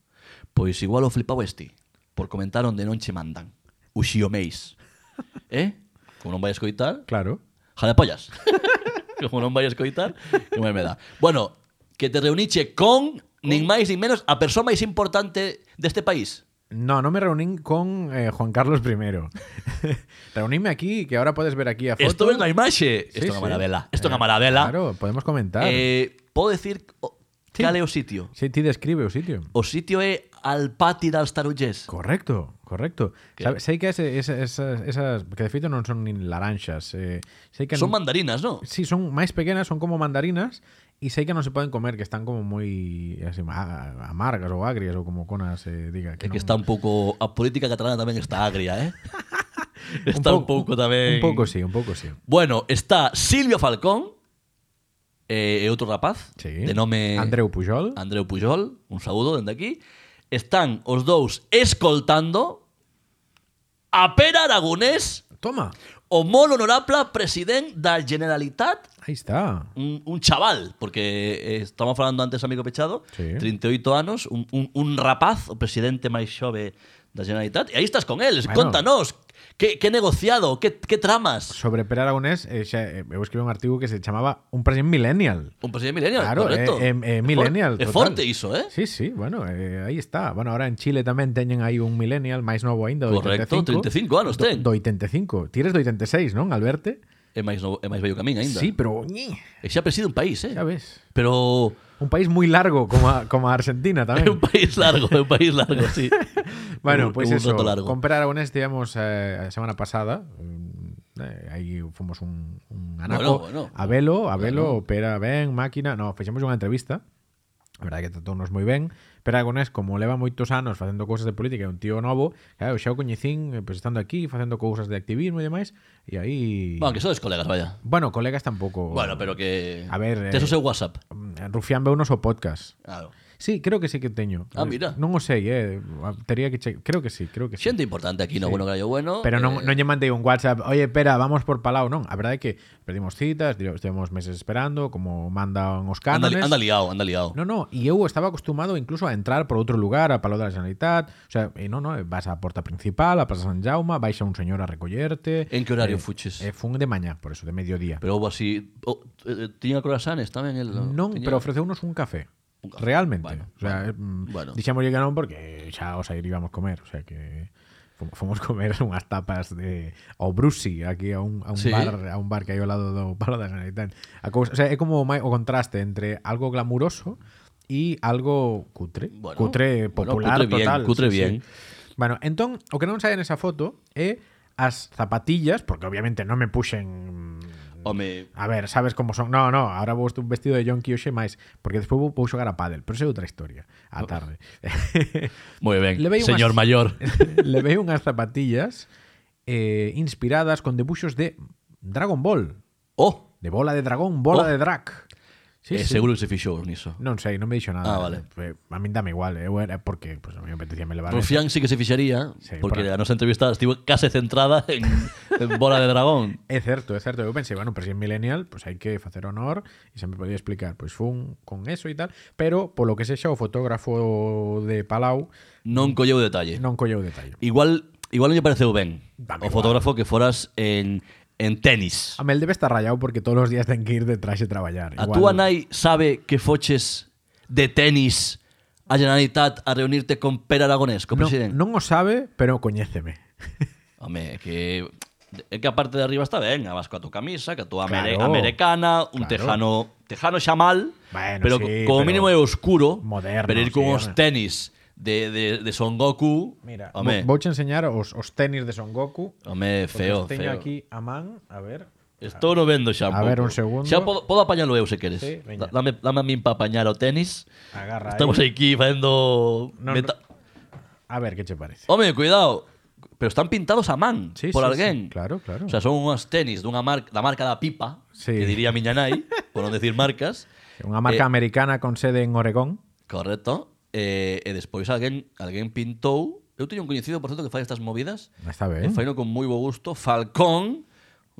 [SPEAKER 2] Pois igual o flipao este, por comentar onde non che mandan. O xiomeis. Eh? Como non vai escoitar,
[SPEAKER 1] Claro.
[SPEAKER 2] jalapollas. Como non vai escoitar, que máis me dá. Bueno, que te reuniche con, nin máis nin menos, a persoa máis importante deste país.
[SPEAKER 1] No, no me reunín con eh, Juan Carlos I. Reuníme aquí, que ahora puedes ver aquí a foto.
[SPEAKER 2] Esto é unha imaxe. Isto
[SPEAKER 1] Sí,
[SPEAKER 2] é unha
[SPEAKER 1] sí.
[SPEAKER 2] maravela. Isto é unha
[SPEAKER 1] Eh,
[SPEAKER 2] maravela.
[SPEAKER 1] Claro, podemos comentar.
[SPEAKER 2] Eh, podo decir o-
[SPEAKER 1] Sí.
[SPEAKER 2] cal é o sitio?
[SPEAKER 1] Sí, ti describe o sitio.
[SPEAKER 2] O sitio é Alpati das Tarullés.
[SPEAKER 1] Correcto, correcto.
[SPEAKER 2] Que-
[SPEAKER 1] Sabe, sei que ese, ese, esas, esas que de feito non son nin laranxas, eh, sei que
[SPEAKER 2] Son
[SPEAKER 1] non-
[SPEAKER 2] mandarinas, non?
[SPEAKER 1] Sí, son máis pequenas, son como mandarinas e sei que non se poden comer, que están como moi así, ma- amargas ou agrias ou como cona se diga
[SPEAKER 2] É
[SPEAKER 1] que,
[SPEAKER 2] que
[SPEAKER 1] non-
[SPEAKER 2] está un pouco a política catalana tamén está agria, eh? Está un pouco
[SPEAKER 1] Un
[SPEAKER 2] tamén.
[SPEAKER 1] pouco sí, un pouco sí.
[SPEAKER 2] Bueno, está Silvio Falcón eh, e outro rapaz
[SPEAKER 1] Sí.
[SPEAKER 2] de nome
[SPEAKER 1] Andreu Pujol.
[SPEAKER 2] Andreu Pujol, un saúdo dende aquí. Están os dous escoltando a Pere Aragonés,
[SPEAKER 1] Toma,
[SPEAKER 2] o molt honorable president da Generalitat
[SPEAKER 1] aí está.
[SPEAKER 2] un, un chaval, porque eh, estamos falando antes amigo pechado,
[SPEAKER 1] Sí.
[SPEAKER 2] 38 anos, un, un, un rapaz, o presidente máis xove da Generalitat, e aí estás con eles,
[SPEAKER 1] Bueno.
[SPEAKER 2] bueno. contanos, que, que negociado, que, que tramas?
[SPEAKER 1] Sobre Pere Aragonés, eh, xa, eh, eu escribí un artigo que se chamaba Un presidente millennial.
[SPEAKER 2] Un presidente millennial,
[SPEAKER 1] Claro, é,
[SPEAKER 2] correcto.
[SPEAKER 1] é, é millennial.
[SPEAKER 2] É
[SPEAKER 1] total.
[SPEAKER 2] forte iso, eh?
[SPEAKER 1] Sí, sí, bueno, eh, aí está. Bueno, ahora en Chile tamén teñen aí un millennial máis novo aínda, do
[SPEAKER 2] Correcto,
[SPEAKER 1] 85.
[SPEAKER 2] 35 anos ten.
[SPEAKER 1] Do, do 85. Ti eres do 86, non, Alberto?
[SPEAKER 2] É máis, novo, é máis bello camín aínda.
[SPEAKER 1] Sí, pero... ñi,
[SPEAKER 2] E xa preside un país, eh?
[SPEAKER 1] Xa ves.
[SPEAKER 2] Pero
[SPEAKER 1] Un país moi largo como a, como a Argentina
[SPEAKER 2] é
[SPEAKER 1] tamén.
[SPEAKER 2] un país largo, é un país largo, sí.
[SPEAKER 1] bueno,
[SPEAKER 2] Hubo-
[SPEAKER 1] pois pues
[SPEAKER 2] hubo un
[SPEAKER 1] eso,
[SPEAKER 2] rato largo.
[SPEAKER 1] con Pere Aragonés tivemos eh, a semana pasada, mm, eh, aí fomos un, un anaco,
[SPEAKER 2] Bueno, bueno.
[SPEAKER 1] a velo, a velo, Pera ben, máquina, no, fixemos unha entrevista, a verdade que tratou-nos moi ben, Pera Aragonés, como leva moitos anos facendo cousas de política, é un tío novo, claro, xa o coñecín, eh, pois estando aquí, facendo cousas de activismo e demais, e aí...
[SPEAKER 2] Bueno, que sodes colegas, vaya.
[SPEAKER 1] Bueno, colegas tampouco...
[SPEAKER 2] Bueno, pero que...
[SPEAKER 1] A ver,
[SPEAKER 2] Tes o
[SPEAKER 1] eh,
[SPEAKER 2] seu WhatsApp.
[SPEAKER 1] mm, Rufián veu nos o podcast.
[SPEAKER 2] Claro.
[SPEAKER 1] Sí, creo que sí que teño.
[SPEAKER 2] Ah, mira.
[SPEAKER 1] Non o sei, eh. Tería que che... Creo que sí, creo que sí.
[SPEAKER 2] Xente importante aquí, no
[SPEAKER 1] Sí.
[SPEAKER 2] bueno, gallo bueno.
[SPEAKER 1] Pero non,
[SPEAKER 2] eh,
[SPEAKER 1] non lle mandei un WhatsApp, oye, pera, vamos por Palau, non. A verdade é que perdimos citas, dio- estivemos meses esperando, como mandan os
[SPEAKER 2] Anda,
[SPEAKER 1] cánones.
[SPEAKER 2] li- anda liado, anda liado.
[SPEAKER 1] No, no, e eu estaba acostumado incluso a entrar por outro lugar, a Palau da Generalitat, o sea, e non, non, vas á porta principal, a Plaza San Jaume, vais a un señor a recollerte.
[SPEAKER 2] En que horario
[SPEAKER 1] Eh,
[SPEAKER 2] fuches?
[SPEAKER 1] Eh, fun de mañá, por eso, de mediodía.
[SPEAKER 2] Pero houve así... Oh, eh, tiña croissants tamén? El,
[SPEAKER 1] non,
[SPEAKER 2] tiña-
[SPEAKER 1] pero ofreceunos un café.
[SPEAKER 2] Un café.
[SPEAKER 1] Realmente.
[SPEAKER 2] Bueno,
[SPEAKER 1] o sea,
[SPEAKER 2] bueno.
[SPEAKER 1] bueno. dixémoslle que non porque xa os ir íbamos comer, o sea que fom- fomos comer unhas tapas de ao Brusi aquí a un, a un
[SPEAKER 2] Sí.
[SPEAKER 1] bar a un bar que hai ao lado do Palo da Generalitat. A cousa, o sea, é como o mai- o contraste entre algo glamuroso e algo cutre,
[SPEAKER 2] Bueno,
[SPEAKER 1] cutre
[SPEAKER 2] bueno,
[SPEAKER 1] popular
[SPEAKER 2] cutre bien,
[SPEAKER 1] total.
[SPEAKER 2] cutre bien.
[SPEAKER 1] Bueno, entón, o que non sai nesa foto é as zapatillas, porque obviamente non me puxen mm,
[SPEAKER 2] Home,
[SPEAKER 1] A ver, sabes como son. No, no, ahora vou un vestido de John Kiyoshe máis, porque despois vou, vou xogar a pádel, pero esa é outra historia, á tarde.
[SPEAKER 2] moi ben,
[SPEAKER 1] Levei unhas-
[SPEAKER 2] señor maior.
[SPEAKER 1] Eh, Levei unhas zapatillas eh, inspiradas con debuxos de Dragon Ball,
[SPEAKER 2] Oh,
[SPEAKER 1] de bola de dragón, bola
[SPEAKER 2] Oh.
[SPEAKER 1] de drac. Sí,
[SPEAKER 2] eh,
[SPEAKER 1] sí.
[SPEAKER 2] seguro que se fixou niso.
[SPEAKER 1] Non sei, non me dixo nada.
[SPEAKER 2] Ah, vale.
[SPEAKER 1] Eh, A min dame igual, eu era porque pues, a mí me apetecía me levar. esa.
[SPEAKER 2] Rufián sí que se fixaría,
[SPEAKER 1] Sí,
[SPEAKER 2] porque
[SPEAKER 1] por-
[SPEAKER 2] a nosa entrevista estivo case centrada en, en Bola de Dragón.
[SPEAKER 1] É certo, é certo. Eu pensei, bueno, pero se é millennial, pois pues hai que facer honor e sempre podía explicar, pois pues, fun con eso e tal, pero polo que sexa o fotógrafo de Palau
[SPEAKER 2] Non colleu detalle.
[SPEAKER 1] non colleu detalle.
[SPEAKER 2] Igual igual non lle pareceu ben
[SPEAKER 1] Dame
[SPEAKER 2] o
[SPEAKER 1] igual.
[SPEAKER 2] fotógrafo que foras en, en tenis.
[SPEAKER 1] A Mel debe estar rayado porque todos os días ten que ir de traxe traballar.
[SPEAKER 2] A túa nai sabe que foches de tenis a Generalitat a reunirte con Per Aragonés, co
[SPEAKER 1] non,
[SPEAKER 2] presidente?
[SPEAKER 1] non o sabe, pero coñéceme.
[SPEAKER 2] Home, é que é que a parte de arriba está ben, vas coa tua camisa, que a tua
[SPEAKER 1] Claro.
[SPEAKER 2] claro, americana, un
[SPEAKER 1] Claro.
[SPEAKER 2] tejano tejano xa mal,
[SPEAKER 1] Bueno,
[SPEAKER 2] pero
[SPEAKER 1] sí,
[SPEAKER 2] co-
[SPEAKER 1] pero-
[SPEAKER 2] como mínimo é oscuro,
[SPEAKER 1] Moderno,
[SPEAKER 2] pero ir con
[SPEAKER 1] sí,
[SPEAKER 2] os
[SPEAKER 1] home.
[SPEAKER 2] tenis de, de, de Son Goku,
[SPEAKER 1] Mira,
[SPEAKER 2] home,
[SPEAKER 1] vou vouche enseñar os, os tenis de Son Goku.
[SPEAKER 2] home
[SPEAKER 1] porque
[SPEAKER 2] feo,
[SPEAKER 1] os teño
[SPEAKER 2] feo.
[SPEAKER 1] aquí a man, a ver.
[SPEAKER 2] Estou no vendo xa un
[SPEAKER 1] A ver, un
[SPEAKER 2] pouco.
[SPEAKER 1] segundo.
[SPEAKER 2] Xa podo, podo apañalo eu se queres.
[SPEAKER 1] Sí, veña.
[SPEAKER 2] Da- dame, dame a min para apañar o tenis.
[SPEAKER 1] Agarra
[SPEAKER 2] Estamos
[SPEAKER 1] aí.
[SPEAKER 2] aquí facendo
[SPEAKER 1] No,
[SPEAKER 2] meta-
[SPEAKER 1] A ver que che parece.
[SPEAKER 2] Home, cuidado. Pero están pintados a man
[SPEAKER 1] Sí,
[SPEAKER 2] por
[SPEAKER 1] sí,
[SPEAKER 2] alguén.
[SPEAKER 1] sí, claro, claro.
[SPEAKER 2] O sea, son unhas tenis dunha marca, da marca da Pipa,
[SPEAKER 1] Sí.
[SPEAKER 2] que diría miña nai, por non decir marcas.
[SPEAKER 1] Unha marca
[SPEAKER 2] Eh,
[SPEAKER 1] americana con sede en Oregón.
[SPEAKER 2] Correcto. Eh, e despois alguén, alguén pintou... Eu teño un coñecido, por certo, que fai estas movidas.
[SPEAKER 1] Está
[SPEAKER 2] E
[SPEAKER 1] ben.
[SPEAKER 2] faino con moi bo gusto. Falcón,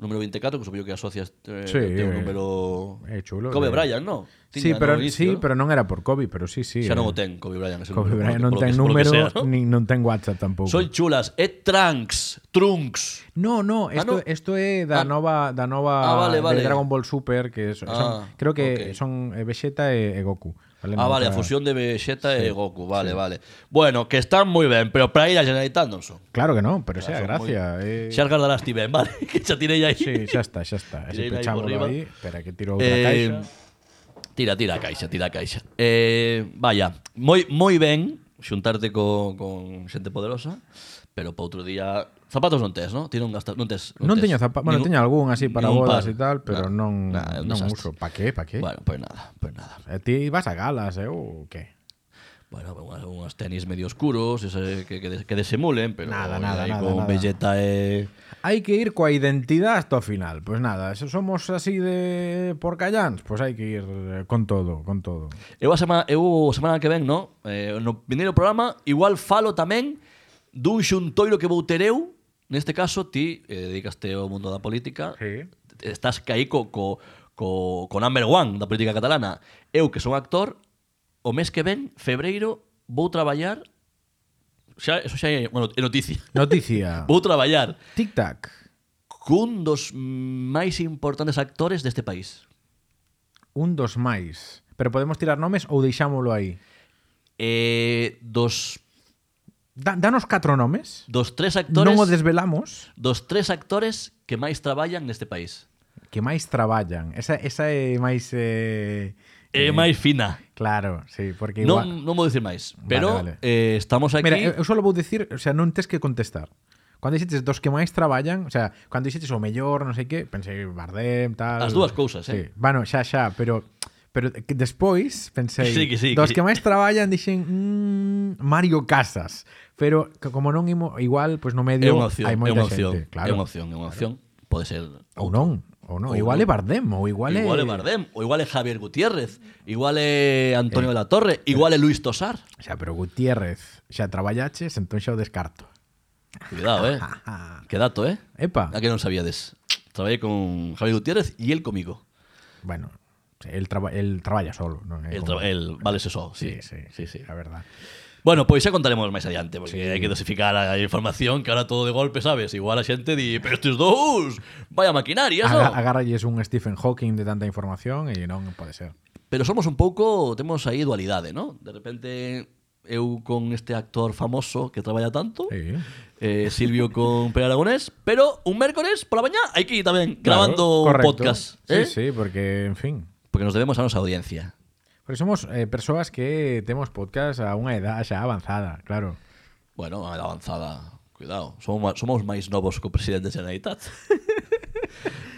[SPEAKER 2] o número 24, que supoño que asocias eh,
[SPEAKER 1] Sí,
[SPEAKER 2] teu
[SPEAKER 1] eh,
[SPEAKER 2] número...
[SPEAKER 1] é chulo,
[SPEAKER 2] Kobe
[SPEAKER 1] eh.
[SPEAKER 2] Bryant, non?
[SPEAKER 1] Sí,
[SPEAKER 2] Tiña
[SPEAKER 1] pero
[SPEAKER 2] no inicio,
[SPEAKER 1] sí,
[SPEAKER 2] ¿no?
[SPEAKER 1] pero non era por Kobe, pero sí, sí.
[SPEAKER 2] Xa non
[SPEAKER 1] eh.
[SPEAKER 2] o ten, Kobe Bryant. ese
[SPEAKER 1] Kobe
[SPEAKER 2] número,
[SPEAKER 1] Bryant
[SPEAKER 2] polo
[SPEAKER 1] non
[SPEAKER 2] que-
[SPEAKER 1] ten
[SPEAKER 2] polo que
[SPEAKER 1] número,
[SPEAKER 2] sea, ¿no?
[SPEAKER 1] nin non ten WhatsApp tampouco.
[SPEAKER 2] Son chulas. É Trunks. Trunks.
[SPEAKER 1] No, no, esto,
[SPEAKER 2] Ah, no.
[SPEAKER 1] esto é da
[SPEAKER 2] Ah.
[SPEAKER 1] nova da nova
[SPEAKER 2] Ah, vale, vale.
[SPEAKER 1] de Dragon Ball Super que son,
[SPEAKER 2] Ah,
[SPEAKER 1] creo que
[SPEAKER 2] ok.
[SPEAKER 1] son eh, Vegeta e, e Goku.
[SPEAKER 2] Ah, vale, a
[SPEAKER 1] Nunca-
[SPEAKER 2] fusión de Vegeta e Goku, vale, vale. Bueno, que están moi ben, pero para ir a Generalitat non son.
[SPEAKER 1] Claro que non, pero sea
[SPEAKER 2] son
[SPEAKER 1] gracia. Eh...
[SPEAKER 2] Xa as gardarás ti ben, vale, que xa tirei aí.
[SPEAKER 1] Sí, xa está, xa está. Así
[SPEAKER 2] Tirei aí
[SPEAKER 1] pechámoslo
[SPEAKER 2] por riba.
[SPEAKER 1] aí. Espera que tiro outra
[SPEAKER 2] Eh,
[SPEAKER 1] caixa.
[SPEAKER 2] tira, tira a caixa, tira a caixa. Eh, vaya, moi moi ben xuntarte co, con xente poderosa, pero para outro día zapatos non tes, non? Ti non gastas, non tes.
[SPEAKER 1] Non
[SPEAKER 2] tes
[SPEAKER 1] teño zapatos, bueno,
[SPEAKER 2] ningún-
[SPEAKER 1] teño algún así para
[SPEAKER 2] ningún
[SPEAKER 1] bodas
[SPEAKER 2] par.
[SPEAKER 1] e tal, pero
[SPEAKER 2] Nah,
[SPEAKER 1] non
[SPEAKER 2] nah, é un
[SPEAKER 1] non uso.
[SPEAKER 2] desastre.
[SPEAKER 1] Pa qué, pa qué?
[SPEAKER 2] Bueno, pois pues nada, pois pues nada.
[SPEAKER 1] Eh, Ti vas a galas, eh, ou que?
[SPEAKER 2] Bueno, unhas, unhas tenis medio oscuros, ese, que, que, des- que desimulen, pero
[SPEAKER 1] Nada,
[SPEAKER 2] ir
[SPEAKER 1] nada,
[SPEAKER 2] aí
[SPEAKER 1] nada,
[SPEAKER 2] con
[SPEAKER 1] nada.
[SPEAKER 2] Vegeta eh, e...
[SPEAKER 1] Hai que ir coa identidade hasta o final. Pois pues nada, se somos así de porcallans, pois pues hai que ir eh, con todo, con todo.
[SPEAKER 2] Eu a eh, semana, eu a semana que ven, no? Eh, no primeiro programa, igual falo tamén dun xuntoiro que vou ter eu, neste caso, ti eh, dedicaste ao mundo da política,
[SPEAKER 1] Sí.
[SPEAKER 2] estás caí co, co, co, co number one da política catalana. Eu, que son actor, o mes que ven, febreiro, vou traballar... Xa, eso xa é, bueno, é noticia.
[SPEAKER 1] Noticia.
[SPEAKER 2] Vou traballar
[SPEAKER 1] Tic Tac.
[SPEAKER 2] cun dos máis importantes actores deste país.
[SPEAKER 1] Un dos máis. Pero podemos tirar nomes ou deixámolo aí?
[SPEAKER 2] Eh, dos,
[SPEAKER 1] Da, danos catro nomes.
[SPEAKER 2] dos tres actores
[SPEAKER 1] Non o desvelamos.
[SPEAKER 2] dos tres actores que máis traballan neste país.
[SPEAKER 1] Que máis traballan. Esa, esa é máis... Eh,
[SPEAKER 2] É máis fina.
[SPEAKER 1] Claro, sí, porque igual...
[SPEAKER 2] Non, non vou dicir máis, pero
[SPEAKER 1] vale.
[SPEAKER 2] eh, estamos aquí...
[SPEAKER 1] Mira, eu eu só vou dicir, o sea, non tes que contestar. Cando dixetes dos que máis traballan, o sea, cando dixetes o mellor, non sei que, pensei Bardem, tal.
[SPEAKER 2] As dúas cousas,
[SPEAKER 1] Sí.
[SPEAKER 2] eh.
[SPEAKER 1] Bueno, xa xa, pero pero que despois pensei
[SPEAKER 2] Sí, que sí,
[SPEAKER 1] dos
[SPEAKER 2] que-
[SPEAKER 1] que, máis traballan dixen mm, Mario Casas, pero que como non imo, igual, pois no
[SPEAKER 2] é
[SPEAKER 1] medio
[SPEAKER 2] unha opción,
[SPEAKER 1] hai
[SPEAKER 2] é
[SPEAKER 1] moita
[SPEAKER 2] unha opción,
[SPEAKER 1] xente,
[SPEAKER 2] é
[SPEAKER 1] claro.
[SPEAKER 2] unha opción, é unha opción. Pode ser
[SPEAKER 1] Ou non, ou non,
[SPEAKER 2] Ou
[SPEAKER 1] igual
[SPEAKER 2] non.
[SPEAKER 1] é Bardem, ou igual,
[SPEAKER 2] igual
[SPEAKER 1] é
[SPEAKER 2] é Bardem, ou igual é Javier Gutiérrez, igual é
[SPEAKER 1] Eh.
[SPEAKER 2] Antonio de la Torre, igual é Luis Tosar.
[SPEAKER 1] O sea, pero Gutiérrez, xa traballaches, entón xa o descarto.
[SPEAKER 2] Cuidado, eh. Que dato, eh.
[SPEAKER 1] Epa.
[SPEAKER 2] A que non sabíades. Traballei con Javier Gutiérrez e el comigo.
[SPEAKER 1] Bueno, el, traba, el traballa solo, non é?
[SPEAKER 2] El,
[SPEAKER 1] como-
[SPEAKER 2] tra- el vale ese só,
[SPEAKER 1] Sí,
[SPEAKER 2] sí.
[SPEAKER 1] sí,
[SPEAKER 2] sí, sí.
[SPEAKER 1] a verdad.
[SPEAKER 2] Bueno, pois xa contaremos máis adiante, porque hai que dosificar a información que ahora todo de golpe, sabes? Igual a xente di, pero estes dous, vaya maquinaria,
[SPEAKER 1] Aga,
[SPEAKER 2] non?
[SPEAKER 1] agarralles un Stephen Hawking de tanta información e non pode ser.
[SPEAKER 2] Pero somos un pouco, temos aí dualidade, non? De repente, eu con este actor famoso que traballa tanto,
[SPEAKER 1] Sí.
[SPEAKER 2] eh, Silvio con Per Aragonés, pero un mércores pola mañá hai que ir tamén
[SPEAKER 1] Claro,
[SPEAKER 2] grabando un
[SPEAKER 1] correcto.
[SPEAKER 2] podcast,
[SPEAKER 1] Sí,
[SPEAKER 2] eh?
[SPEAKER 1] sí, porque, en fin.
[SPEAKER 2] Porque nos debemos a nosa audiencia.
[SPEAKER 1] Porque somos eh, persoas que temos podcast a unha edad xa avanzada, claro.
[SPEAKER 2] Bueno, a edad avanzada, cuidado, somos, ma- somos máis novos co presidente da Generalitat.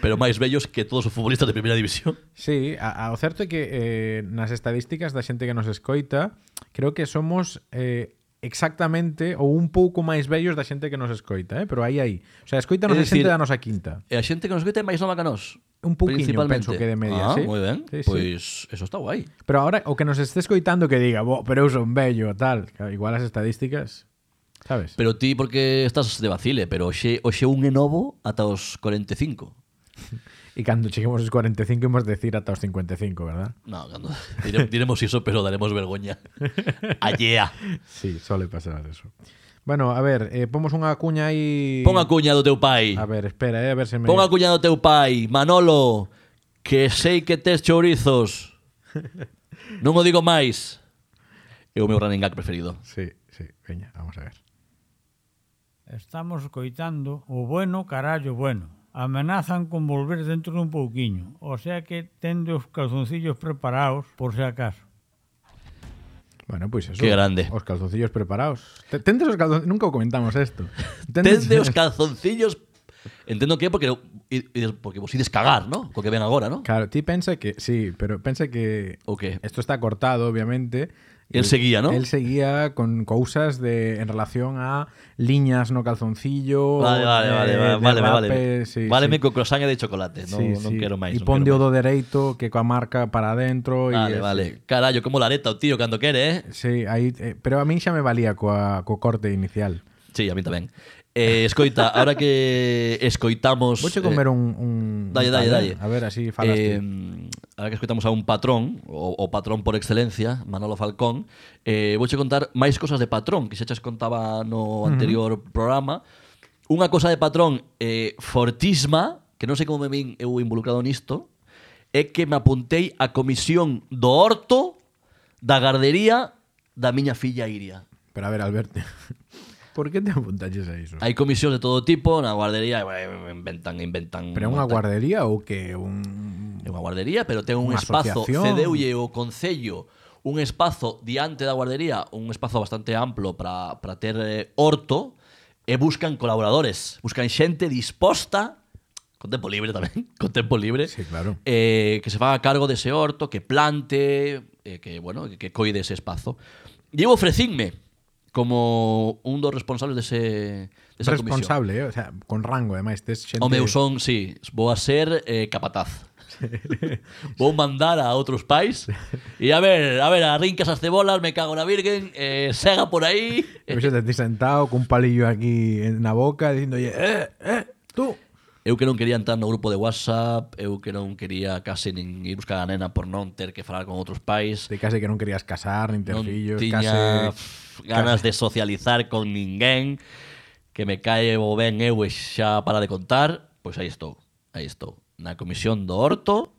[SPEAKER 2] pero máis bellos que todos os futbolistas de primeira división.
[SPEAKER 1] Sí, a, a, o certo é que eh, nas estadísticas da xente que nos escoita, creo que somos eh, exactamente ou un pouco máis vellos da xente que nos escoita, eh? pero aí aí. O sea, escoítanos a
[SPEAKER 2] É
[SPEAKER 1] xente
[SPEAKER 2] dicir-
[SPEAKER 1] da nosa quinta.
[SPEAKER 2] E a xente que nos escoita é máis nova que nós.
[SPEAKER 1] Un pouquiño,
[SPEAKER 2] principalmente.
[SPEAKER 1] penso que de media,
[SPEAKER 2] ah,
[SPEAKER 1] sí.
[SPEAKER 2] moi ben.
[SPEAKER 1] Sí, sí.
[SPEAKER 2] pois eso está guai.
[SPEAKER 1] Pero ahora, o que nos esté escoitando que diga, "Bo, pero eu son bello, tal. Claro, Igual as estadísticas, sabes?
[SPEAKER 2] Pero ti porque estás de vacile, pero oxe, oxe un é novo ata os 45.
[SPEAKER 1] E cando cheguemos aos 45 imos decir ata os 55, verdad?
[SPEAKER 2] No, cando, dire- diremos iso, pero daremos vergoña. Allea.
[SPEAKER 1] Sí, sole pasar eso. Bueno, a ver, eh, pomos unha cuña aí...
[SPEAKER 2] Pon a cuña do teu pai.
[SPEAKER 1] A ver, espera, eh, a ver se me...
[SPEAKER 2] Pon a cuña do teu pai. Manolo, que sei que tes chourizos. Non o digo máis. É o meu running gag preferido.
[SPEAKER 1] Sí, sí, veña, vamos a ver.
[SPEAKER 4] Estamos coitando o bueno carallo bueno. Amenazan con volver dentro dun pouquiño, o sea que tende os calzoncillos preparados por se acaso.
[SPEAKER 1] Bueno, pois eso.
[SPEAKER 2] Qué grande.
[SPEAKER 1] Os calzoncillos preparados. Te- Tendes os calzoncillos... Nunca o comentamos esto.
[SPEAKER 2] Tende os calzoncillos... Entendo que é porque, i- i- porque vos ides cagar, ¿no? Co que ven agora, ¿no?
[SPEAKER 1] Claro, ti pensa que... Sí, pero pensa que...
[SPEAKER 2] O que?
[SPEAKER 1] Esto está cortado, obviamente.
[SPEAKER 2] Él seguía, ¿no?
[SPEAKER 1] Él seguía con cousas de, en relación a liñas no calzoncillo.
[SPEAKER 2] Vale, vale,
[SPEAKER 1] eh,
[SPEAKER 2] vale, vale, vale,
[SPEAKER 1] derrapes,
[SPEAKER 2] vale.
[SPEAKER 1] sí,
[SPEAKER 2] Váleme
[SPEAKER 1] sí.
[SPEAKER 2] co croissant de chocolate, non,
[SPEAKER 1] Sí,
[SPEAKER 2] non
[SPEAKER 1] sí.
[SPEAKER 2] quero máis.
[SPEAKER 1] E
[SPEAKER 2] non
[SPEAKER 1] pon
[SPEAKER 2] quero
[SPEAKER 1] o do
[SPEAKER 2] máis.
[SPEAKER 1] dereito que coa marca para adentro.
[SPEAKER 2] Vale,
[SPEAKER 1] e,
[SPEAKER 2] vale. Carallo, como lareta o tío cando quere, eh?
[SPEAKER 1] Sí, aí, eh, pero a min xa me valía coa, co corte inicial.
[SPEAKER 2] Sí, a mí tamén. Eh, escoita, ahora que escoitamos...
[SPEAKER 1] Vouche
[SPEAKER 2] eh,
[SPEAKER 1] comer un, un...
[SPEAKER 2] Dalle,
[SPEAKER 1] a ver,
[SPEAKER 2] dalle, dalle.
[SPEAKER 1] A ver, así falas
[SPEAKER 2] Eh,
[SPEAKER 1] ti.
[SPEAKER 2] ahora que escoitamos a un patrón, o, o patrón por excelencia, Manolo Falcón, eh, vouche contar máis cosas de patrón, que xa chas contaba no anterior programa. Unha cosa de patrón eh, fortísima, que non sei como me vin eu involucrado nisto, é que me apuntei a comisión do horto da gardería da miña filla Iria.
[SPEAKER 1] Pero a ver, Alberto, por que te apuntaches a iso?
[SPEAKER 2] Hai comisións de todo tipo na guardería, bueno, inventan, inventan.
[SPEAKER 1] Pero é unha
[SPEAKER 2] montan-
[SPEAKER 1] guardería ou que un...
[SPEAKER 2] É unha guardería, pero ten un
[SPEAKER 1] Unha
[SPEAKER 2] espazo,
[SPEAKER 1] asociación.
[SPEAKER 2] cedeulle o concello un espazo diante da guardería, un espazo bastante amplo para para ter eh, horto e buscan colaboradores, buscan xente disposta con tempo libre tamén, con tempo libre.
[SPEAKER 1] Sí, claro.
[SPEAKER 2] eh, que se faga cargo dese horto, que plante, eh, que bueno, que, que coide ese espazo. E eu ofrecinme como un dos responsables dese desa comisión.
[SPEAKER 1] responsable, eh? o sea, con rango, ademais, tes xente...
[SPEAKER 2] O meu son, sí, vou a ser eh, capataz. vou mandar a outros pais e a ver, a ver, arrincas as cebolas, me cago na virgen, eh, sega por aí.
[SPEAKER 1] Eu xa te ti sentado cun palillo aquí en- na boca dicindo, eh, eh, tú.
[SPEAKER 2] Eu que non quería entrar no grupo de WhatsApp, eu que non quería case nin ir buscar a nena por non ter que falar con outros pais.
[SPEAKER 1] De case que non querías casar, nin ter
[SPEAKER 2] non
[SPEAKER 1] fillos,
[SPEAKER 2] tiña
[SPEAKER 1] case...
[SPEAKER 2] f- ganas de socializar con ninguén que me cae o ben eu e xa para de contar pois aí estou aí estou na comisión do horto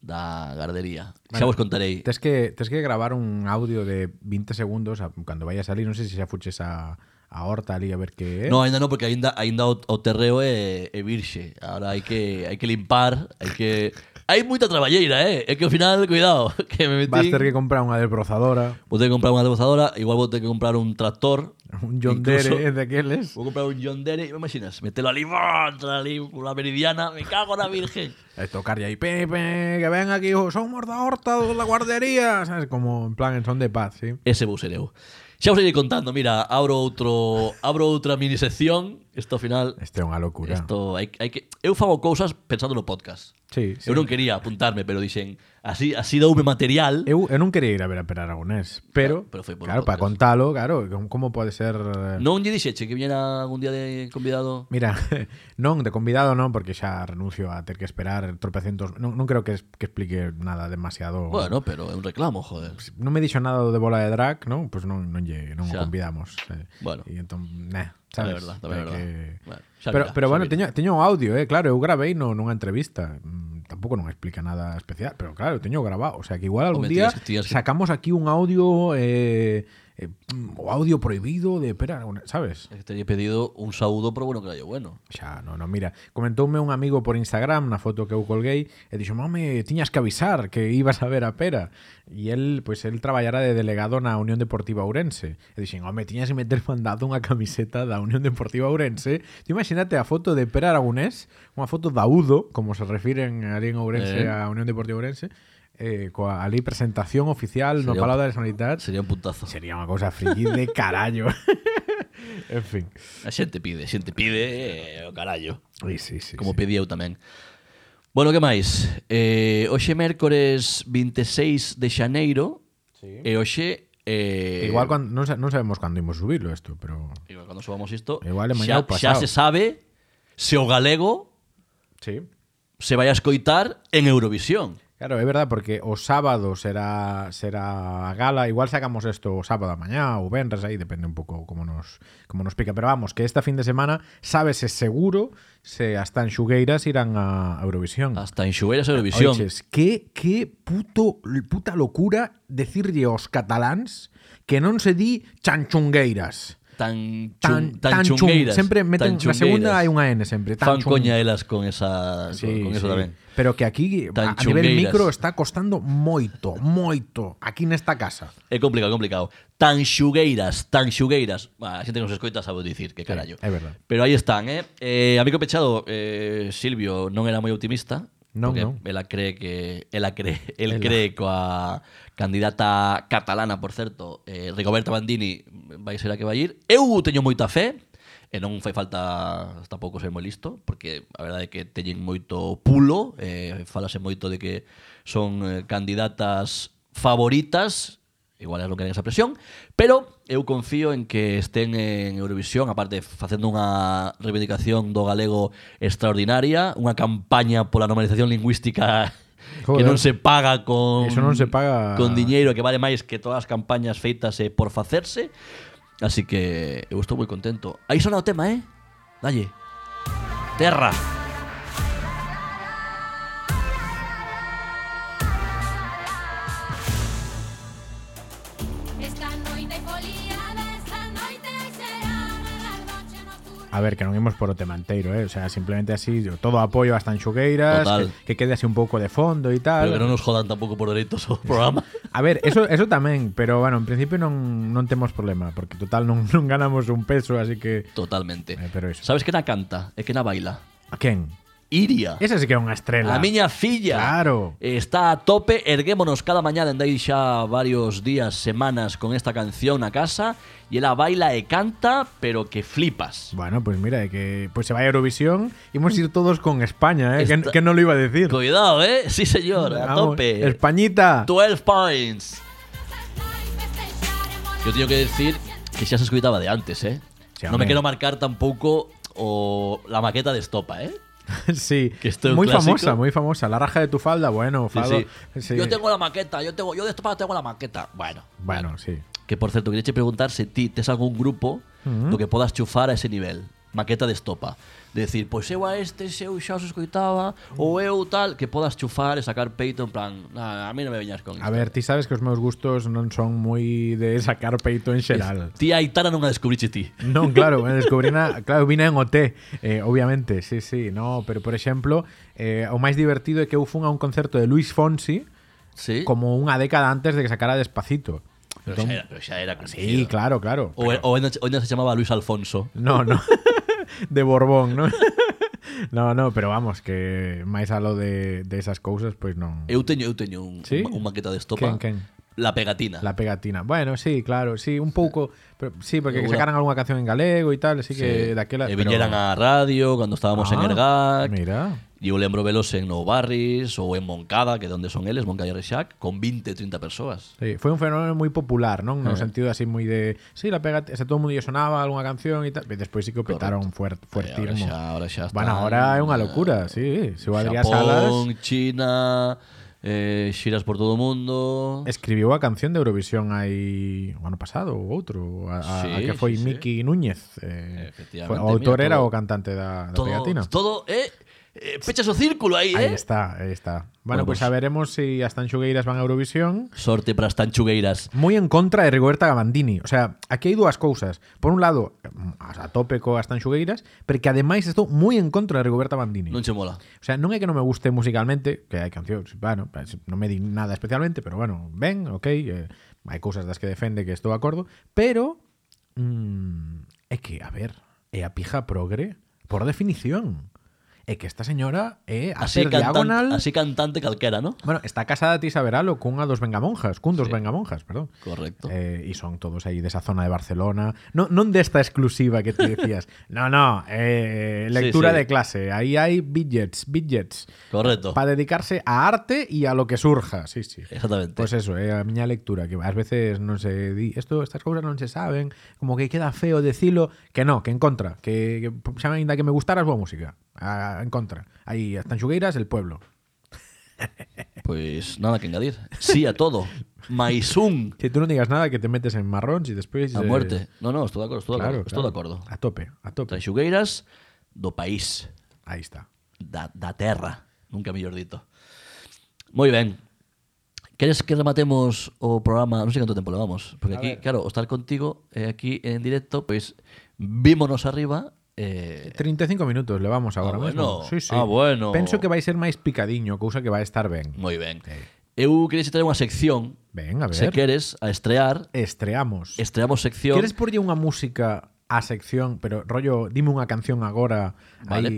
[SPEAKER 2] da gardería xa
[SPEAKER 1] Bueno,
[SPEAKER 2] vos contarei
[SPEAKER 1] Tes que, tes que gravar un audio de 20 segundos a, cando vaya a salir, non sei se xa fuches a, a horta ali a ver ¿eh? que é.
[SPEAKER 2] No, aínda non, porque aínda aínda o, o terreo é, é virxe. Ahora hai que hai que limpar, hai que hai moita traballeira, eh? É que ao final, cuidado, que me
[SPEAKER 1] Vas
[SPEAKER 2] metí.
[SPEAKER 1] ter que comprar unha desbrozadora,
[SPEAKER 2] Vou ter que comprar unha debozadora, igual vou ter que comprar un tractor,
[SPEAKER 1] un John eh,
[SPEAKER 2] Incluso-
[SPEAKER 1] Dere daqueles.
[SPEAKER 2] Vou comprar un John Dere, me imaginas, metelo ali, ¡buah! entra ali, pola meridiana, me cago na virgen.
[SPEAKER 1] E tocarlle aí, Pepe, que ven aquí, oh, somos da horta, dos da guardería, sabes, como en plan en son de paz, sí.
[SPEAKER 2] Ese vou ser eu. Xa vos iré contando, mira, abro outro, abro outra mini sección, isto ao final,
[SPEAKER 1] Este é unha locura.
[SPEAKER 2] isto hai, hai que eu fago cousas pensando no podcast.
[SPEAKER 1] Sí, sí.
[SPEAKER 2] Eu non quería apuntarme, pero dixen, así así doume material.
[SPEAKER 1] Eu, eu non quería ir a ver a Per Aragonés, pero,
[SPEAKER 2] Claro, pero foi por
[SPEAKER 1] claro,
[SPEAKER 2] un
[SPEAKER 1] para
[SPEAKER 2] podcast.
[SPEAKER 1] contalo, claro, como- como pode ser... eh,
[SPEAKER 2] Non lle dixeche que viñera algún día de convidado.
[SPEAKER 1] Mira, non, de convidado non, porque xa renuncio a ter que esperar tropecentos... Non, non creo que, es- que explique nada demasiado...
[SPEAKER 2] Bueno, pero é un reclamo, joder.
[SPEAKER 1] Non me dixo nada do de bola de drag, non? Pois non, non, lle, non o
[SPEAKER 2] Xa.
[SPEAKER 1] convidamos. eh.
[SPEAKER 2] Bueno.
[SPEAKER 1] E entón, nah, sabes?
[SPEAKER 2] Tamén é verdad, tamén é
[SPEAKER 1] Hai
[SPEAKER 2] verdad.
[SPEAKER 1] que-
[SPEAKER 2] Bueno, xa
[SPEAKER 1] pero,
[SPEAKER 2] virá,
[SPEAKER 1] pero
[SPEAKER 2] xa
[SPEAKER 1] bueno,
[SPEAKER 2] virá.
[SPEAKER 1] teño, teño o audio, eh? claro, eu gravei no, nunha entrevista. Mm, Tampouco non explica nada especial, pero claro, teño grabado. O sea, que igual algún
[SPEAKER 2] Home,
[SPEAKER 1] día
[SPEAKER 2] tías- tías que-
[SPEAKER 1] sacamos aquí un audio eh, eh, o audio prohibido de pera, sabes?
[SPEAKER 2] É que teñe pedido un saúdo pro bueno carallo bueno.
[SPEAKER 1] Xa, non, non, mira, comentoume un amigo por Instagram na foto que eu colguei e dixo, mame, tiñas que avisar que ibas a ver a Pera. E el, pois, pues, el traballara de delegado na Unión Deportiva Ourense. E dixen, home, tiñas que meter mandado unha camiseta da Unión Deportiva Ourense. Ti imagínate a foto de Pera Aragonés, unha foto da Udo, como se refiren ali en Ourense eh.
[SPEAKER 2] Eh.
[SPEAKER 1] a Unión Deportiva Ourense, eh, coa ali presentación oficial no
[SPEAKER 2] Sería un-
[SPEAKER 1] Palau da Sanidade.
[SPEAKER 2] Sería un puntazo.
[SPEAKER 1] Sería unha cousa friki de carallo. en fin.
[SPEAKER 2] A xente pide, a xente pide, eh, o carallo.
[SPEAKER 1] Sí, sí, sí.
[SPEAKER 2] como
[SPEAKER 1] sí.
[SPEAKER 2] pedí eu tamén. Bueno, que máis? Eh, hoxe mércores 26 de xaneiro sí. e hoxe eh,
[SPEAKER 1] Igual cuando, non, sa- non sabemos cando imos subirlo isto, pero
[SPEAKER 2] igual cando subamos isto
[SPEAKER 1] Igual é mañá
[SPEAKER 2] xa,
[SPEAKER 1] ou pasado.
[SPEAKER 2] xa se sabe se o galego
[SPEAKER 1] sí.
[SPEAKER 2] se vai a escoitar en Eurovisión.
[SPEAKER 1] Claro, é verdade porque o sábado será será a gala, igual sacamos isto o sábado a mañá ou venres aí, depende un pouco como nos como nos pica, pero vamos, que esta fin de semana sábese seguro se hasta en Xugueiras irán a Eurovisión.
[SPEAKER 2] Hasta en Xuberas Eurovisión.
[SPEAKER 1] Oiches, que, que puto, puta locura decirlle aos cataláns que non se di chanchungueiras.
[SPEAKER 2] Tan,
[SPEAKER 1] Tan,
[SPEAKER 2] chun,
[SPEAKER 1] tan, chun.
[SPEAKER 2] chungueiras.
[SPEAKER 1] Sempre meten,
[SPEAKER 2] tan
[SPEAKER 1] na segunda
[SPEAKER 2] chungueiras.
[SPEAKER 1] hai unha N sempre. Tan
[SPEAKER 2] Fan
[SPEAKER 1] chun-
[SPEAKER 2] coña elas con esa
[SPEAKER 1] Sí,
[SPEAKER 2] con
[SPEAKER 1] sí.
[SPEAKER 2] eso tamén.
[SPEAKER 1] Pero que aquí a,
[SPEAKER 2] Tan
[SPEAKER 1] a nivel
[SPEAKER 2] chungueiras.
[SPEAKER 1] micro está costando moito, moito aquí nesta casa.
[SPEAKER 2] É complicado, complicado. Tan xugueiras, tan xugueiras. Bah, a xente que nos escoita sabe o dicir, que carallo.
[SPEAKER 1] é verdad.
[SPEAKER 2] Pero aí están, eh? eh amigo Pechado, eh, Silvio non era moi optimista.
[SPEAKER 1] Non,
[SPEAKER 2] porque
[SPEAKER 1] non.
[SPEAKER 2] Ela cree que... Ela cree,
[SPEAKER 1] Ela.
[SPEAKER 2] el cree coa candidata catalana, por certo, eh, Rigoberta Bandini, vai ser a que vai ir. Eu teño moita fe, e non fai falta tampouco ser moi listo, porque a verdade é que teñen moito pulo, eh, falase moito de que son eh, candidatas favoritas, igual elas non queren esa presión, pero eu confío en que estén en Eurovisión, aparte facendo unha reivindicación do galego extraordinaria, unha campaña pola normalización lingüística que
[SPEAKER 1] Joder.
[SPEAKER 2] non se paga con
[SPEAKER 1] Eso non se paga.
[SPEAKER 2] con diñeiro que vale máis que todas as campañas feitas eh, por facerse. Así que eu estou moi contento. Aí sona o tema, eh? Dalle. Terra.
[SPEAKER 5] Esta noite foliada, esta noite será a noche nocturna.
[SPEAKER 1] A ver, que non imos por o tema enteiro, eh? O sea, simplemente así, yo, todo apoio hasta en Xugueiras,
[SPEAKER 2] Total.
[SPEAKER 1] que, que quede así un pouco de fondo e tal.
[SPEAKER 2] Pero que non nos jodan tampouco por dereitos o programa.
[SPEAKER 1] A ver, eso, eso tamén, pero bueno, en principio non, non temos problema, porque total non, non ganamos un peso, así que...
[SPEAKER 2] Totalmente.
[SPEAKER 1] Eh, pero iso.
[SPEAKER 2] Sabes que na canta e que na baila?
[SPEAKER 1] A quen?
[SPEAKER 2] Iria.
[SPEAKER 1] Esa sí que é unha estrela.
[SPEAKER 2] A miña filla
[SPEAKER 1] Claro.
[SPEAKER 2] está a tope, erguémonos cada mañá dende aí xa varios días, semanas con esta canción na casa e ela baila e canta, pero que flipas.
[SPEAKER 1] Bueno, pues mira, é que pues se vai a Eurovisión, imos ir todos con España, eh?
[SPEAKER 2] Esta-
[SPEAKER 1] Que, que non lo iba a decir.
[SPEAKER 2] Cuidado, eh? Sí, señor, a
[SPEAKER 1] Vamos,
[SPEAKER 2] tope.
[SPEAKER 1] Españita.
[SPEAKER 2] 12 points.
[SPEAKER 5] Ai, festejaremos
[SPEAKER 2] Yo tengo que decir que xa se escuitaba de antes, eh?
[SPEAKER 1] Sí,
[SPEAKER 2] non
[SPEAKER 1] home.
[SPEAKER 2] me quero marcar tampouco o la maqueta de estopa, eh?
[SPEAKER 1] Sí,
[SPEAKER 2] Que esto es
[SPEAKER 1] muy
[SPEAKER 2] clásico.
[SPEAKER 1] famosa, muy famosa. La raja de tu falda, bueno,
[SPEAKER 2] Sí,
[SPEAKER 1] fado.
[SPEAKER 2] sí.
[SPEAKER 1] sí.
[SPEAKER 2] Yo tengo la maqueta, yo tengo, yo de estopa tengo la maqueta. Bueno,
[SPEAKER 1] Bueno, sí.
[SPEAKER 2] Que por certo, quería preguntar se ti tes algún grupo
[SPEAKER 1] Mhm.
[SPEAKER 2] do que podas chufar a ese nivel. Maqueta de estopa. De decir, pois eu a este eu xa os escoitaba, ou eu tal, que podas chufar e sacar peito en plan, "Nah, a mí non me veñas con
[SPEAKER 1] A ver, ti sabes que os meus gustos non son moi de sacar peito en xeral.
[SPEAKER 2] Ti a Aitana non a descubriche ti.
[SPEAKER 1] Non, claro, bueno, descubrina, claro, vine en OT, eh, obviamente, sí, sí, no, pero por exemplo, eh, o máis divertido é que eu fun a un concerto de Luis Fonsi
[SPEAKER 2] Sí?
[SPEAKER 1] como unha década antes de que sacara Despacito.
[SPEAKER 2] Pero
[SPEAKER 1] Entón-
[SPEAKER 2] xa era, pero xa era
[SPEAKER 1] Ah, Sí,
[SPEAKER 2] conocido.
[SPEAKER 1] claro, claro.
[SPEAKER 2] O,
[SPEAKER 1] pero-
[SPEAKER 2] o ainda, o ainda se chamaba Luis Alfonso.
[SPEAKER 1] No, no. De Borbón, ¿no? No, no, pero vamos, que máis a lo de, de esas cousas, pois non.
[SPEAKER 2] Eu teño, eu teño un,
[SPEAKER 1] Sí?
[SPEAKER 2] un maqueta de estopa.
[SPEAKER 1] Quen, quen?
[SPEAKER 2] La pegatina.
[SPEAKER 1] La pegatina. Bueno, sí, claro, sí, un pouco, pero, sí, porque que
[SPEAKER 2] Una-
[SPEAKER 1] sacaran algunha canción en galego e tal, así que
[SPEAKER 2] Sí.
[SPEAKER 1] daquela,
[SPEAKER 2] E
[SPEAKER 1] pero-
[SPEAKER 2] viñeran a radio cando estábamos en
[SPEAKER 1] Ah,
[SPEAKER 2] Ergac.
[SPEAKER 1] Mira.
[SPEAKER 2] E eu lembro velos en Nou Barris ou en Moncada, que é onde son eles, Moncada e Reixac, con 20, 30 persoas.
[SPEAKER 1] Sí, foi un fenómeno moi popular, non? No
[SPEAKER 2] Eh.
[SPEAKER 1] sentido así moi de, sí, la pegatina, o sea, todo o mundo lle sonaba algunha canción e tal, e despois sí que o petaron fuert,
[SPEAKER 2] Ahora
[SPEAKER 1] fuertirmo.
[SPEAKER 2] xa, ahora xa están,
[SPEAKER 1] bueno, ahora é unha locura, sí, se o Adrián Salas
[SPEAKER 2] Xapón, China, eh, xiras por todo o mundo...
[SPEAKER 1] escribiu a canción de Eurovisión aí o ano pasado ou outro, a, a, a
[SPEAKER 2] Sí,
[SPEAKER 1] que foi
[SPEAKER 2] sí, sí.
[SPEAKER 1] Miki Núñez. Eh,
[SPEAKER 2] Efectivamente,
[SPEAKER 1] foi- o autor
[SPEAKER 2] mira,
[SPEAKER 1] era o
[SPEAKER 2] todo-
[SPEAKER 1] cantante da, da
[SPEAKER 2] todo,
[SPEAKER 1] pegatina.
[SPEAKER 2] todo é eh, pechas o círculo aí,
[SPEAKER 1] Ahí
[SPEAKER 2] eh?
[SPEAKER 1] está, ahí está. Bueno,
[SPEAKER 2] Bueno,
[SPEAKER 1] pues
[SPEAKER 2] pues-
[SPEAKER 1] a veremos si hasta en Xugueiras van a Eurovisión.
[SPEAKER 2] Sorte para as tanchugueiras.
[SPEAKER 1] Moi en contra de Rigoberta Gabandini. O sea, aquí hai dúas cousas. Por un lado, mm, a tope coas tanxugueiras, pero que ademais estou moi en contra de Rigoberta Bandini.
[SPEAKER 2] Non che mola.
[SPEAKER 1] O sea, non é que non me guste musicalmente, que hai cancións, bueno, pues, non me di nada especialmente, pero bueno, ben, ok, eh, hai cousas das que defende que estou de acordo, pero mm, é que, a ver, é a pija progre por definición. É que esta señora é a
[SPEAKER 2] Así,
[SPEAKER 1] ser
[SPEAKER 2] cantan,
[SPEAKER 1] diagonal...
[SPEAKER 2] así cantante calquera, ¿no?
[SPEAKER 1] Bueno, está casada Tisa Veralo cunha dos vengamonjas, cun dos vengamonjas, perdón.
[SPEAKER 2] Correcto.
[SPEAKER 1] Eh, e son todos aí desa zona de Barcelona. No, non desta exclusiva que te decías. no, no, eh, lectura
[SPEAKER 2] Sí, sí.
[SPEAKER 1] de clase. Aí hai billets, billets.
[SPEAKER 2] Correcto.
[SPEAKER 1] Para dedicarse a arte y a lo que surja. Sí, sí.
[SPEAKER 2] Exactamente.
[SPEAKER 1] Pues eso, é a miña lectura, que ás veces non se di, esto, estas cousas non se saben, como que queda feo decilo, que no, que en contra, que, que xa me ainda que me gustara a súa música, a, en contra. Aí están xugueiras, el pueblo. eh.
[SPEAKER 2] Pues nada que engadir. Sí a todo. Maisún.
[SPEAKER 1] Si tú non digas nada que te metes en marróns e despois
[SPEAKER 2] A
[SPEAKER 1] eh,
[SPEAKER 2] muerte. No, no, estou de acordo, estou de acordo.
[SPEAKER 1] Claro,
[SPEAKER 2] estou de
[SPEAKER 1] claro.
[SPEAKER 2] acordo.
[SPEAKER 1] A tope, a tope.
[SPEAKER 2] Tanchugueiras do país,
[SPEAKER 1] Aí está.
[SPEAKER 2] da, da terra, nunca mellor dito. Moi ben. Queres que rematemos o programa? Non sei canto tempo levamos, porque aquí, claro, o estar contigo eh, aquí en directo, pois vímonos arriba eh,
[SPEAKER 1] 35 minutos levamos agora
[SPEAKER 2] bueno,
[SPEAKER 1] mesmo. Sí, sí.
[SPEAKER 2] ah, bueno.
[SPEAKER 1] Penso que vai ser máis picadiño, cousa que vai estar ben.
[SPEAKER 2] moi ben.
[SPEAKER 1] Eh.
[SPEAKER 2] Eu queres traer unha sección,
[SPEAKER 1] Ben, a ver.
[SPEAKER 2] se queres, a estrear,
[SPEAKER 1] Estreamos.
[SPEAKER 2] estreamos sección.
[SPEAKER 1] Queres porlle unha música á sección, pero rollo, dime unha canción agora.
[SPEAKER 2] Vale,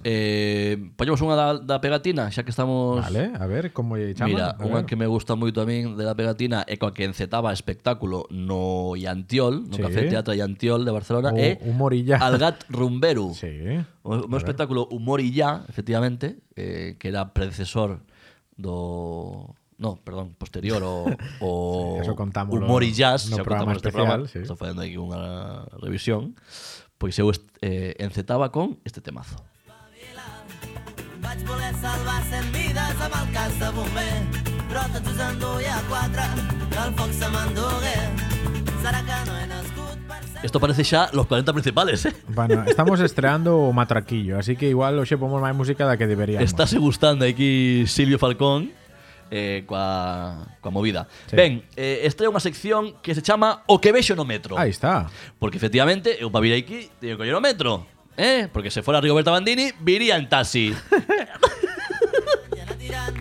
[SPEAKER 1] aí.
[SPEAKER 2] pois eh, poñemos unha da, da pegatina, xa que estamos
[SPEAKER 1] Vale, a ver como lle chama.
[SPEAKER 2] Mira,
[SPEAKER 1] a
[SPEAKER 2] unha
[SPEAKER 1] ver.
[SPEAKER 2] que me gusta moito a min de la pegatina é coa que encetaba espectáculo no Iantiol, no
[SPEAKER 1] Sí.
[SPEAKER 2] Café Teatro Iantiol de
[SPEAKER 1] O
[SPEAKER 2] Barcelona, é
[SPEAKER 1] Humor y ya.
[SPEAKER 2] Algat Rumberu.
[SPEAKER 1] Sí.
[SPEAKER 2] O meu espectáculo Humor y ya, efectivamente, eh, que era predecesor do... No, perdón, posterior o, o
[SPEAKER 1] Sí, eso contámolo
[SPEAKER 2] Humor y Jazz,
[SPEAKER 1] no
[SPEAKER 2] xa
[SPEAKER 1] programa
[SPEAKER 2] contamos este
[SPEAKER 1] especial,
[SPEAKER 2] programa,
[SPEAKER 1] sí.
[SPEAKER 2] estou facendo aquí unha revisión, pois eu est- eh, encetaba con este temazo.
[SPEAKER 6] Vaig voler salvar cent vides amb el cas de bomber, però tots us en duia quatre, que el foc se m'endugué. Serà que no he nascut per ser...
[SPEAKER 2] Esto parece xa los 40 principales, eh?
[SPEAKER 1] Bueno, estamos estreando o matraquillo, así que igual hoxe pomos máis música da que deberíamos.
[SPEAKER 2] Estáse gustando aquí Silvio Falcón eh, coa, coa movida.
[SPEAKER 1] Sí.
[SPEAKER 2] Ben, eh, esta é unha sección que se chama O que vexo no metro.
[SPEAKER 1] Aí está.
[SPEAKER 2] Porque efectivamente, eu para vir aquí, teño que coller o metro. Eh? Porque se fora Rigoberta Bandini, viría en taxi.
[SPEAKER 6] Anar tirant,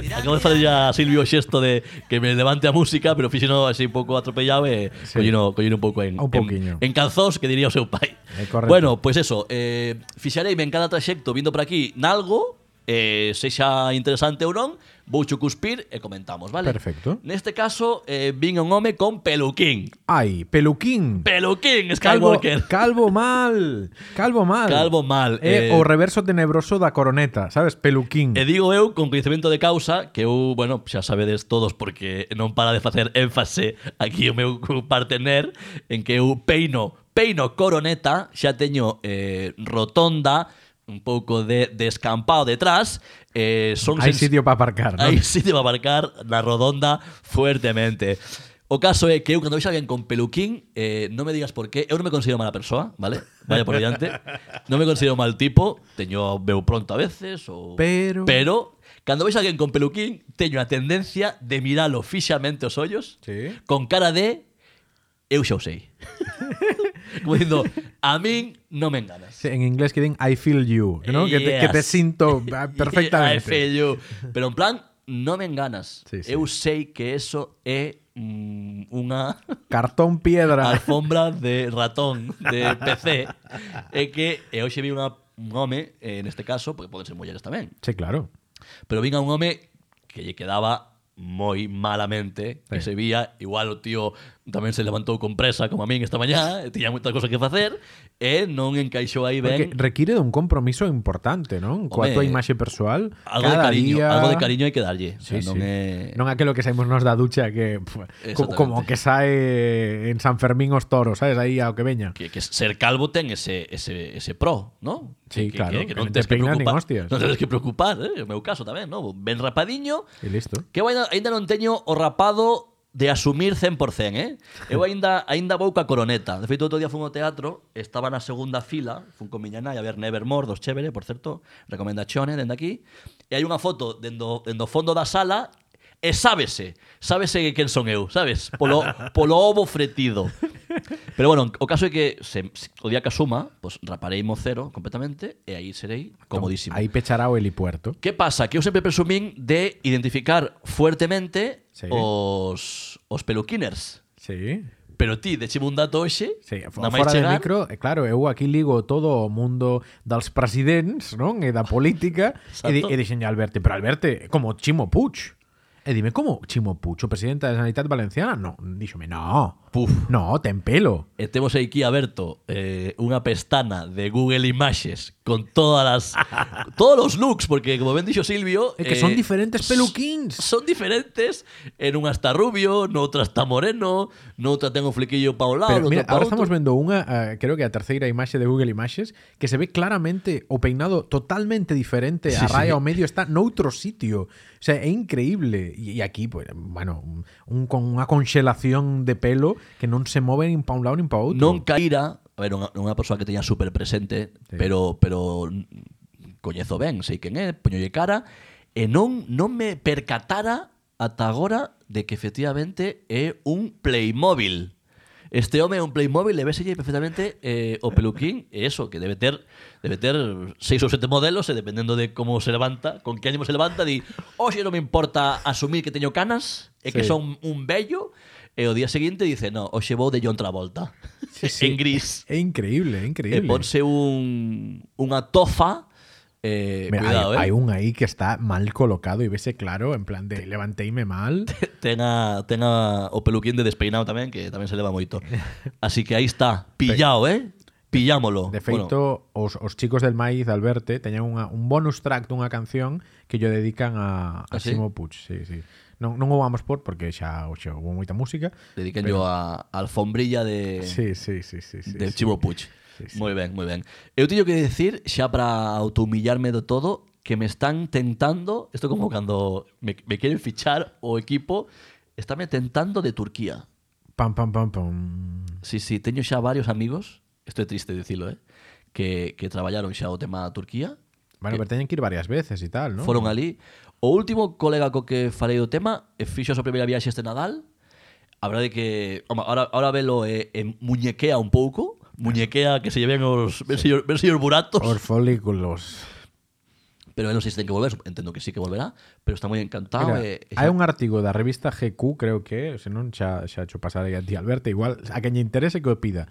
[SPEAKER 6] tirant,
[SPEAKER 2] Acabo de fazer ya a Silvio o xesto de que me levante a música, pero fixeno así un pouco atropellado e
[SPEAKER 1] Sí.
[SPEAKER 2] collino, collino un pouco en,
[SPEAKER 1] Un
[SPEAKER 2] en,
[SPEAKER 1] pouquiño.
[SPEAKER 2] en calzós, que diría o seu pai.
[SPEAKER 1] É correcto.
[SPEAKER 2] Bueno, pois pues eso, eh, fixareime en cada traxecto vindo por aquí nalgo, eh, sexa interesante ou non, vou cho cuspir e comentamos, vale?
[SPEAKER 1] Perfecto.
[SPEAKER 2] Neste caso, eh, vin un home con peluquín.
[SPEAKER 1] Ai, peluquín.
[SPEAKER 2] Peluquín,
[SPEAKER 1] Calvo,
[SPEAKER 2] Skywalker.
[SPEAKER 1] calvo mal. Calvo mal.
[SPEAKER 2] Calvo mal,
[SPEAKER 1] É
[SPEAKER 2] eh.
[SPEAKER 1] o reverso tenebroso da coroneta, sabes? Peluquín.
[SPEAKER 2] E digo eu con coñecemento de causa que eu, bueno, xa sabedes todos porque non para de facer énfase aquí o meu partener en que eu peino, peino coroneta, xa teño eh, rotonda, un pouco de descampado detrás, eh, son
[SPEAKER 1] Hai
[SPEAKER 2] sens-
[SPEAKER 1] sitio para aparcar, non?
[SPEAKER 2] Aí sí te va a marcar na rodonda fuertemente. O caso é que eu, cando vexo a alguén con peluquín, eh, non me digas por qué, eu non me considero mala persoa, vale? Vaya por diante. Non me considero mal tipo, teño veu pronto a veces, ou...
[SPEAKER 1] Pero-
[SPEAKER 2] Pero, cando vexo a alguén con peluquín, teño a tendencia de miralo fixamente os ollos,
[SPEAKER 1] Sí.
[SPEAKER 2] con cara de... Eu xa o sei. Como dicindo, a min non me enganas.
[SPEAKER 1] Sí, En inglés que din I feel you, ¿no? que, te, que te
[SPEAKER 2] Yes.
[SPEAKER 1] sinto ah,
[SPEAKER 2] I
[SPEAKER 1] perfectamente.
[SPEAKER 2] feel you. Pero en plan, no me enganas.
[SPEAKER 1] Sí, sí.
[SPEAKER 2] Eu sei que eso é mm, unha
[SPEAKER 1] Cartón piedra.
[SPEAKER 2] alfombra de ratón de PC. é que e hoxe vi unha, un home, eh, neste caso, porque poden ser mulleres tamén,
[SPEAKER 1] sí, claro.
[SPEAKER 2] pero vinga un home que lle quedaba moi malamente, que
[SPEAKER 1] Sí.
[SPEAKER 2] se vía, igual o tío tamén se levantou con presa como a min esta mañá, e tiña moitas cosas que facer, e non encaixou aí
[SPEAKER 1] Porque
[SPEAKER 2] ben.
[SPEAKER 1] requiere de un compromiso importante, ¿no? Coa
[SPEAKER 2] Home,
[SPEAKER 1] tua imaxe persoal.
[SPEAKER 2] Algo de
[SPEAKER 1] cada
[SPEAKER 2] cariño,
[SPEAKER 1] día...
[SPEAKER 2] algo de cariño hai que darlle. O sea,
[SPEAKER 1] Sí,
[SPEAKER 2] non
[SPEAKER 1] sí.
[SPEAKER 2] é
[SPEAKER 1] Non aquelo que saímos nos da ducha que pf, co-
[SPEAKER 2] Exactamente.
[SPEAKER 1] como que sae en San Fermín os toros, sabes, aí ao que veña.
[SPEAKER 2] que, que ser calvo ten ese, ese, ese pro, ¿no?
[SPEAKER 1] Sí,
[SPEAKER 2] que,
[SPEAKER 1] claro,
[SPEAKER 2] Que, que non
[SPEAKER 1] que
[SPEAKER 2] tens
[SPEAKER 1] te
[SPEAKER 2] que
[SPEAKER 1] peinan nin
[SPEAKER 2] preocupar,
[SPEAKER 1] hostias.
[SPEAKER 2] non tens que preocupar, eh? o meu caso tamén, ¿no? Ben rapadiño,
[SPEAKER 1] E listo.
[SPEAKER 2] que eu ainda, ainda non teño o rapado de asumir 100%, eh? Eu ainda, ainda vou ca coroneta. De feito, outro día fun ao teatro, estaba na segunda fila, fun con miña nai a ver Nevermore, dos chévere, por certo, recomendacións dende aquí, e hai unha foto dendo, dendo fondo da sala e sábese, sábese que quen son eu, sabes? Polo, polo ovo fretido. Pero bueno, o caso é que se, se, o día que asuma, pues, raparei mo cero completamente e aí serei comodísimo.
[SPEAKER 1] Aí pechará o helipuerto.
[SPEAKER 2] Que pasa? Que eu sempre presumín de identificar fuertemente
[SPEAKER 1] Sí.
[SPEAKER 2] os, os peluquiners.
[SPEAKER 1] Sí.
[SPEAKER 2] Pero ti, décheme un dato hoxe,
[SPEAKER 1] Sí, fo-
[SPEAKER 2] na máis
[SPEAKER 1] fora
[SPEAKER 2] chegar,
[SPEAKER 1] de micro, eh, claro, eu aquí ligo todo o mundo dos presidentes, non? E da política, e, di,
[SPEAKER 2] Exacto.
[SPEAKER 1] e dixenlle a Alberti, pero Alberti, é como Chimo Puig. E dime, como Chimo Puig, o presidente da Sanidade Valenciana? No, díxome, no,
[SPEAKER 2] Puf.
[SPEAKER 1] no, ten pelo.
[SPEAKER 2] E temos aquí aberto eh, unha pestana de Google Imaxes con todas as todos os looks, porque como ben dixo Silvio, eh,
[SPEAKER 1] É que son diferentes peluquins.
[SPEAKER 2] Son diferentes, en unha está rubio, noutra está moreno, noutra ten o flequillo pa un lado,
[SPEAKER 1] Pero
[SPEAKER 2] noutra
[SPEAKER 1] mira,
[SPEAKER 2] pa
[SPEAKER 1] ahora
[SPEAKER 2] outro.
[SPEAKER 1] estamos vendo unha, ah, creo que a terceira imaxe de Google Imaxes, que se ve claramente o peinado totalmente diferente, a
[SPEAKER 2] Sí,
[SPEAKER 1] raya
[SPEAKER 2] sí.
[SPEAKER 1] ao medio está noutro sitio. O sea, é increíble. E, e aquí, pues, bueno, un, un, con unha conxelación de pelo que non se move nin pa un lado nin pa outro.
[SPEAKER 2] non caíra, a ver, unha, unha persoa que teña super presente,
[SPEAKER 1] Sí.
[SPEAKER 2] pero pero coñezo ben, sei quen é, poñolle cara, e non non me percatara ata agora de que efectivamente é un Playmobil. Este home é un Playmobil, le veselle perfectamente eh, o peluquín e eso, que debe ter debe ter seis ou sete modelos e dependendo de como se levanta, con que ánimo se levanta, di, hoxe non me importa asumir que teño canas, é que
[SPEAKER 1] Sí.
[SPEAKER 2] son un bello, e o día seguinte dice, no, hoxe vou de John Travolta.
[SPEAKER 1] Sí, sí.
[SPEAKER 2] en gris.
[SPEAKER 1] É increíble, é
[SPEAKER 2] E
[SPEAKER 1] increíble.
[SPEAKER 2] ponse un, unha tofa, eh,
[SPEAKER 1] Mira,
[SPEAKER 2] cuidado,
[SPEAKER 1] hai, hai
[SPEAKER 2] eh.
[SPEAKER 1] un aí que está mal colocado e vese claro, en plan de levanteime mal.
[SPEAKER 2] Ten, a, ten a, o peluquín de despeinado tamén, que tamén se leva moito. Así que aí está, pillao, eh? Pillámolo.
[SPEAKER 1] De feito, os, os chicos del Maíz de Alberte teñen unha, un bonus track dunha canción que yo dedican a, a
[SPEAKER 2] Ah, sí?
[SPEAKER 1] Simo Puig. Sí, sí. Non, non o vamos por porque xa oxe, houve moita música.
[SPEAKER 2] dediquen yo a, a alfombrilla de,
[SPEAKER 1] Sí, sí, sí, sí, sí.
[SPEAKER 2] eh, del
[SPEAKER 1] sí.
[SPEAKER 2] Chivo Puig.
[SPEAKER 1] Sí, sí.
[SPEAKER 2] Moi ben, moi ben. Eu teño que decir, xa para automillarme do todo, que me están tentando, isto como cando me, me queren fichar o equipo, estáme tentando de Turquía.
[SPEAKER 1] Pam, pam, pam, pam.
[SPEAKER 2] Sí, sí, teño xa varios amigos, isto é triste dicilo, eh, que, que traballaron xa o tema Turquía,
[SPEAKER 1] Bueno, pero teñen que ir varias veces e tal, non?
[SPEAKER 2] foron ali. O último colega co que falei do tema e fixo a súa primeira viaxe este Nadal. A verdade é que, home, ahora, ahora velo e, e muñequea un pouco, muñequea que se lleven os, ben señor, ben señor buratos,
[SPEAKER 1] Os folículos.
[SPEAKER 2] pero non sei se ten que volver, entendo que sí que volverá, pero está moi encantado.
[SPEAKER 1] Mira,
[SPEAKER 2] e, e
[SPEAKER 1] hai
[SPEAKER 2] xa-
[SPEAKER 1] un artigo da revista GQ, creo que, se non xa, xa cho pasar aí a ti, Alberto, igual a quen lle interese que o pida.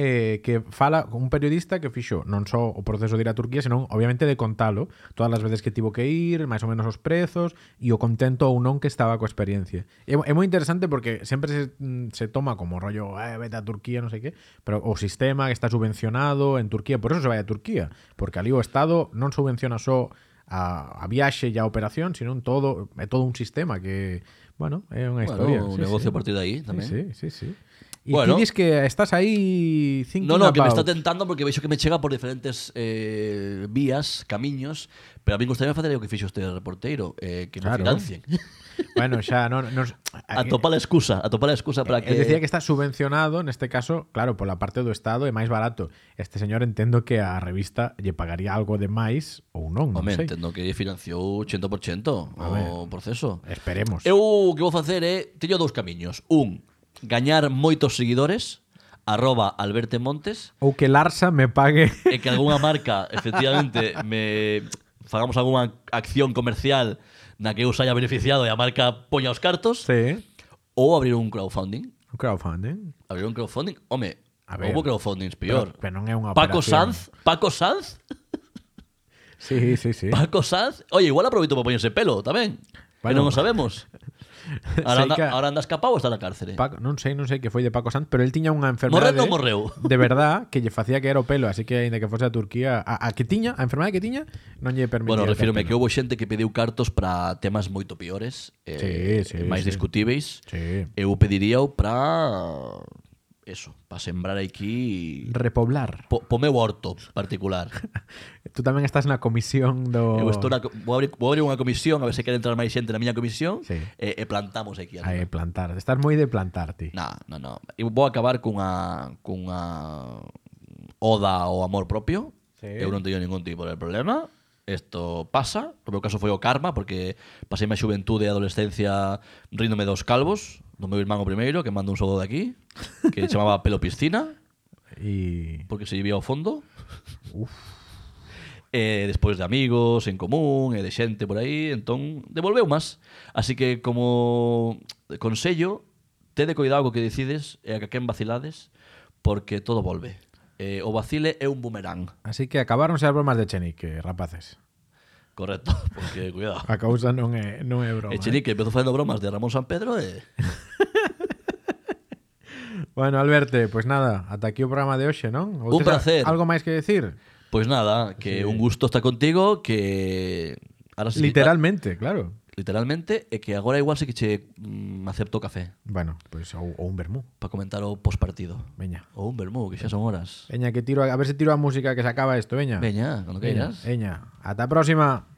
[SPEAKER 1] Eh, que fala un periodista que fixo non só o proceso de ir a Turquía, senón obviamente de contalo, todas as veces que tivo que ir, máis ou menos os prezos e o contento ou non que estaba coa experiencia. É, mo- é moi interesante porque sempre se, mm, se toma como rollo, eh, vete a Turquía, non sei que, pero o sistema que está subvencionado en Turquía, por eso se vai a Turquía, porque ali o Estado non subvenciona só a, a viaxe e a operación, sino un todo, é todo un sistema que, bueno, é unha
[SPEAKER 2] Bueno,
[SPEAKER 1] historia.
[SPEAKER 2] un negocio a partir de aí tamén.
[SPEAKER 1] Sí, sí, sí. E bueno.
[SPEAKER 2] Bueno.
[SPEAKER 1] ti dis que estás aí thinking
[SPEAKER 2] No, no, que me
[SPEAKER 1] about.
[SPEAKER 2] está tentando porque veixo que me chega por diferentes eh, vías, camiños, pero a mí gustaría facer o que fixo este reporteiro, eh, que
[SPEAKER 1] Claro.
[SPEAKER 2] claro. financien.
[SPEAKER 1] Bueno, xa non nos eh,
[SPEAKER 2] A topar a excusa, a topar a excusa para
[SPEAKER 1] Eu
[SPEAKER 2] que...
[SPEAKER 1] decía que está subvencionado, neste caso, claro, pola parte do Estado é máis barato. Este señor entendo que a revista lle pagaría algo de máis ou non, non
[SPEAKER 2] Home,
[SPEAKER 1] sei.
[SPEAKER 2] entendo que financiou 80% o proceso.
[SPEAKER 1] Esperemos.
[SPEAKER 2] Eu o que vou facer é, teño dous camiños. Un, gañar moitos seguidores, arroba Alberto Montes,
[SPEAKER 1] Ou que Larsa me pague
[SPEAKER 2] e que algunha marca, efectivamente, me fagamos algunha acción comercial na que eu saia beneficiado e a marca poña os cartos,
[SPEAKER 1] sí,
[SPEAKER 2] ou abrir un crowdfunding.
[SPEAKER 1] eh, un crowdfunding.
[SPEAKER 2] Abrir un crowdfunding? Home,
[SPEAKER 1] A ver.
[SPEAKER 2] houve crowdfundings peor.
[SPEAKER 1] Pero- pero non é unha
[SPEAKER 2] Paco
[SPEAKER 1] operación.
[SPEAKER 2] Sanz, Paco Sanz,
[SPEAKER 1] Sí, sí, sí.
[SPEAKER 2] Paco Sanz. Oye, igual aproveito para poñerse pelo tamén. Pero
[SPEAKER 1] Bueno.
[SPEAKER 2] non o sabemos.
[SPEAKER 1] Sei
[SPEAKER 2] Ahora, anda,
[SPEAKER 1] que-
[SPEAKER 2] ahora anda escapado ou está na cárcere?
[SPEAKER 1] Paco, non sei, non sei que foi de Paco Sanz, pero el tiña unha enfermedade.
[SPEAKER 2] Morreu non morreu?
[SPEAKER 1] De verdad, que lle facía caer o pelo, así que aínda que fose a Turquía, a, a que tiña, a enfermedade que tiña, non lle permitía.
[SPEAKER 2] Bueno,
[SPEAKER 1] ter
[SPEAKER 2] refírome que
[SPEAKER 1] pelo.
[SPEAKER 2] houve xente que pediu cartos para temas moito peores, eh,
[SPEAKER 1] Sí, sí, sí.
[SPEAKER 2] máis discutíveis.
[SPEAKER 1] Sí.
[SPEAKER 2] Eu pediría para eso, para sembrar aquí
[SPEAKER 1] Repoblar.
[SPEAKER 2] po, po meu horto particular.
[SPEAKER 1] Tú tamén estás na comisión do...
[SPEAKER 2] Eu estou na, co- vou, abrir, vou abrir unha comisión, a ver se quer entrar máis xente na miña comisión,
[SPEAKER 1] Sí.
[SPEAKER 2] e, e plantamos aquí.
[SPEAKER 1] Aí, plantar. Estás moi de plantar, ti.
[SPEAKER 2] No, no, no. Eu vou acabar cunha, cunha oda ao amor propio.
[SPEAKER 1] Sí.
[SPEAKER 2] Eu non teño ningún tipo de problema. Isto pasa. No meu caso foi o karma, porque pasei a xuventude e adolescencia ríndome dos calvos, do meu irmán o primeiro, que mando un saúdo daqui, que chamaba Pelo Piscina,
[SPEAKER 1] E...
[SPEAKER 2] porque se vivía ao fondo. E despois de amigos en común e de xente por aí, entón devolveu máis. Así que como consello, tede cuidado co que decides e a que quen vacilades, porque todo volve. Eh, o vacile é un bumerán,
[SPEAKER 1] Así que acabaronse as bromas de Chenique, rapaces.
[SPEAKER 2] correcto, porque cuidado.
[SPEAKER 1] A causa non é, non é Ah, broma.
[SPEAKER 2] E Chenique empezou facendo bromas de Ramón San Pedro e
[SPEAKER 1] eh. Bueno, Alberto, pois pues nada, ata aquí o programa de hoxe, non?
[SPEAKER 2] Un placer.
[SPEAKER 1] Algo máis que decir?
[SPEAKER 2] pois nada, que sí. un gusto estar contigo, que ahora sí que-
[SPEAKER 1] Literalmente, claro.
[SPEAKER 2] literalmente e que agora igual sí que che mm, acepto café
[SPEAKER 1] Bueno, pois pues, ou, ou un vermú.
[SPEAKER 2] para comentar o postpartido.
[SPEAKER 1] Veña.
[SPEAKER 2] Ou un vermú, que xa son horas.
[SPEAKER 1] Veña, que tiro a, a ver se tiro a música que se acaba isto, veña.
[SPEAKER 2] Veña, cando
[SPEAKER 1] veña,
[SPEAKER 2] queiras.
[SPEAKER 1] veña. Ata a próxima.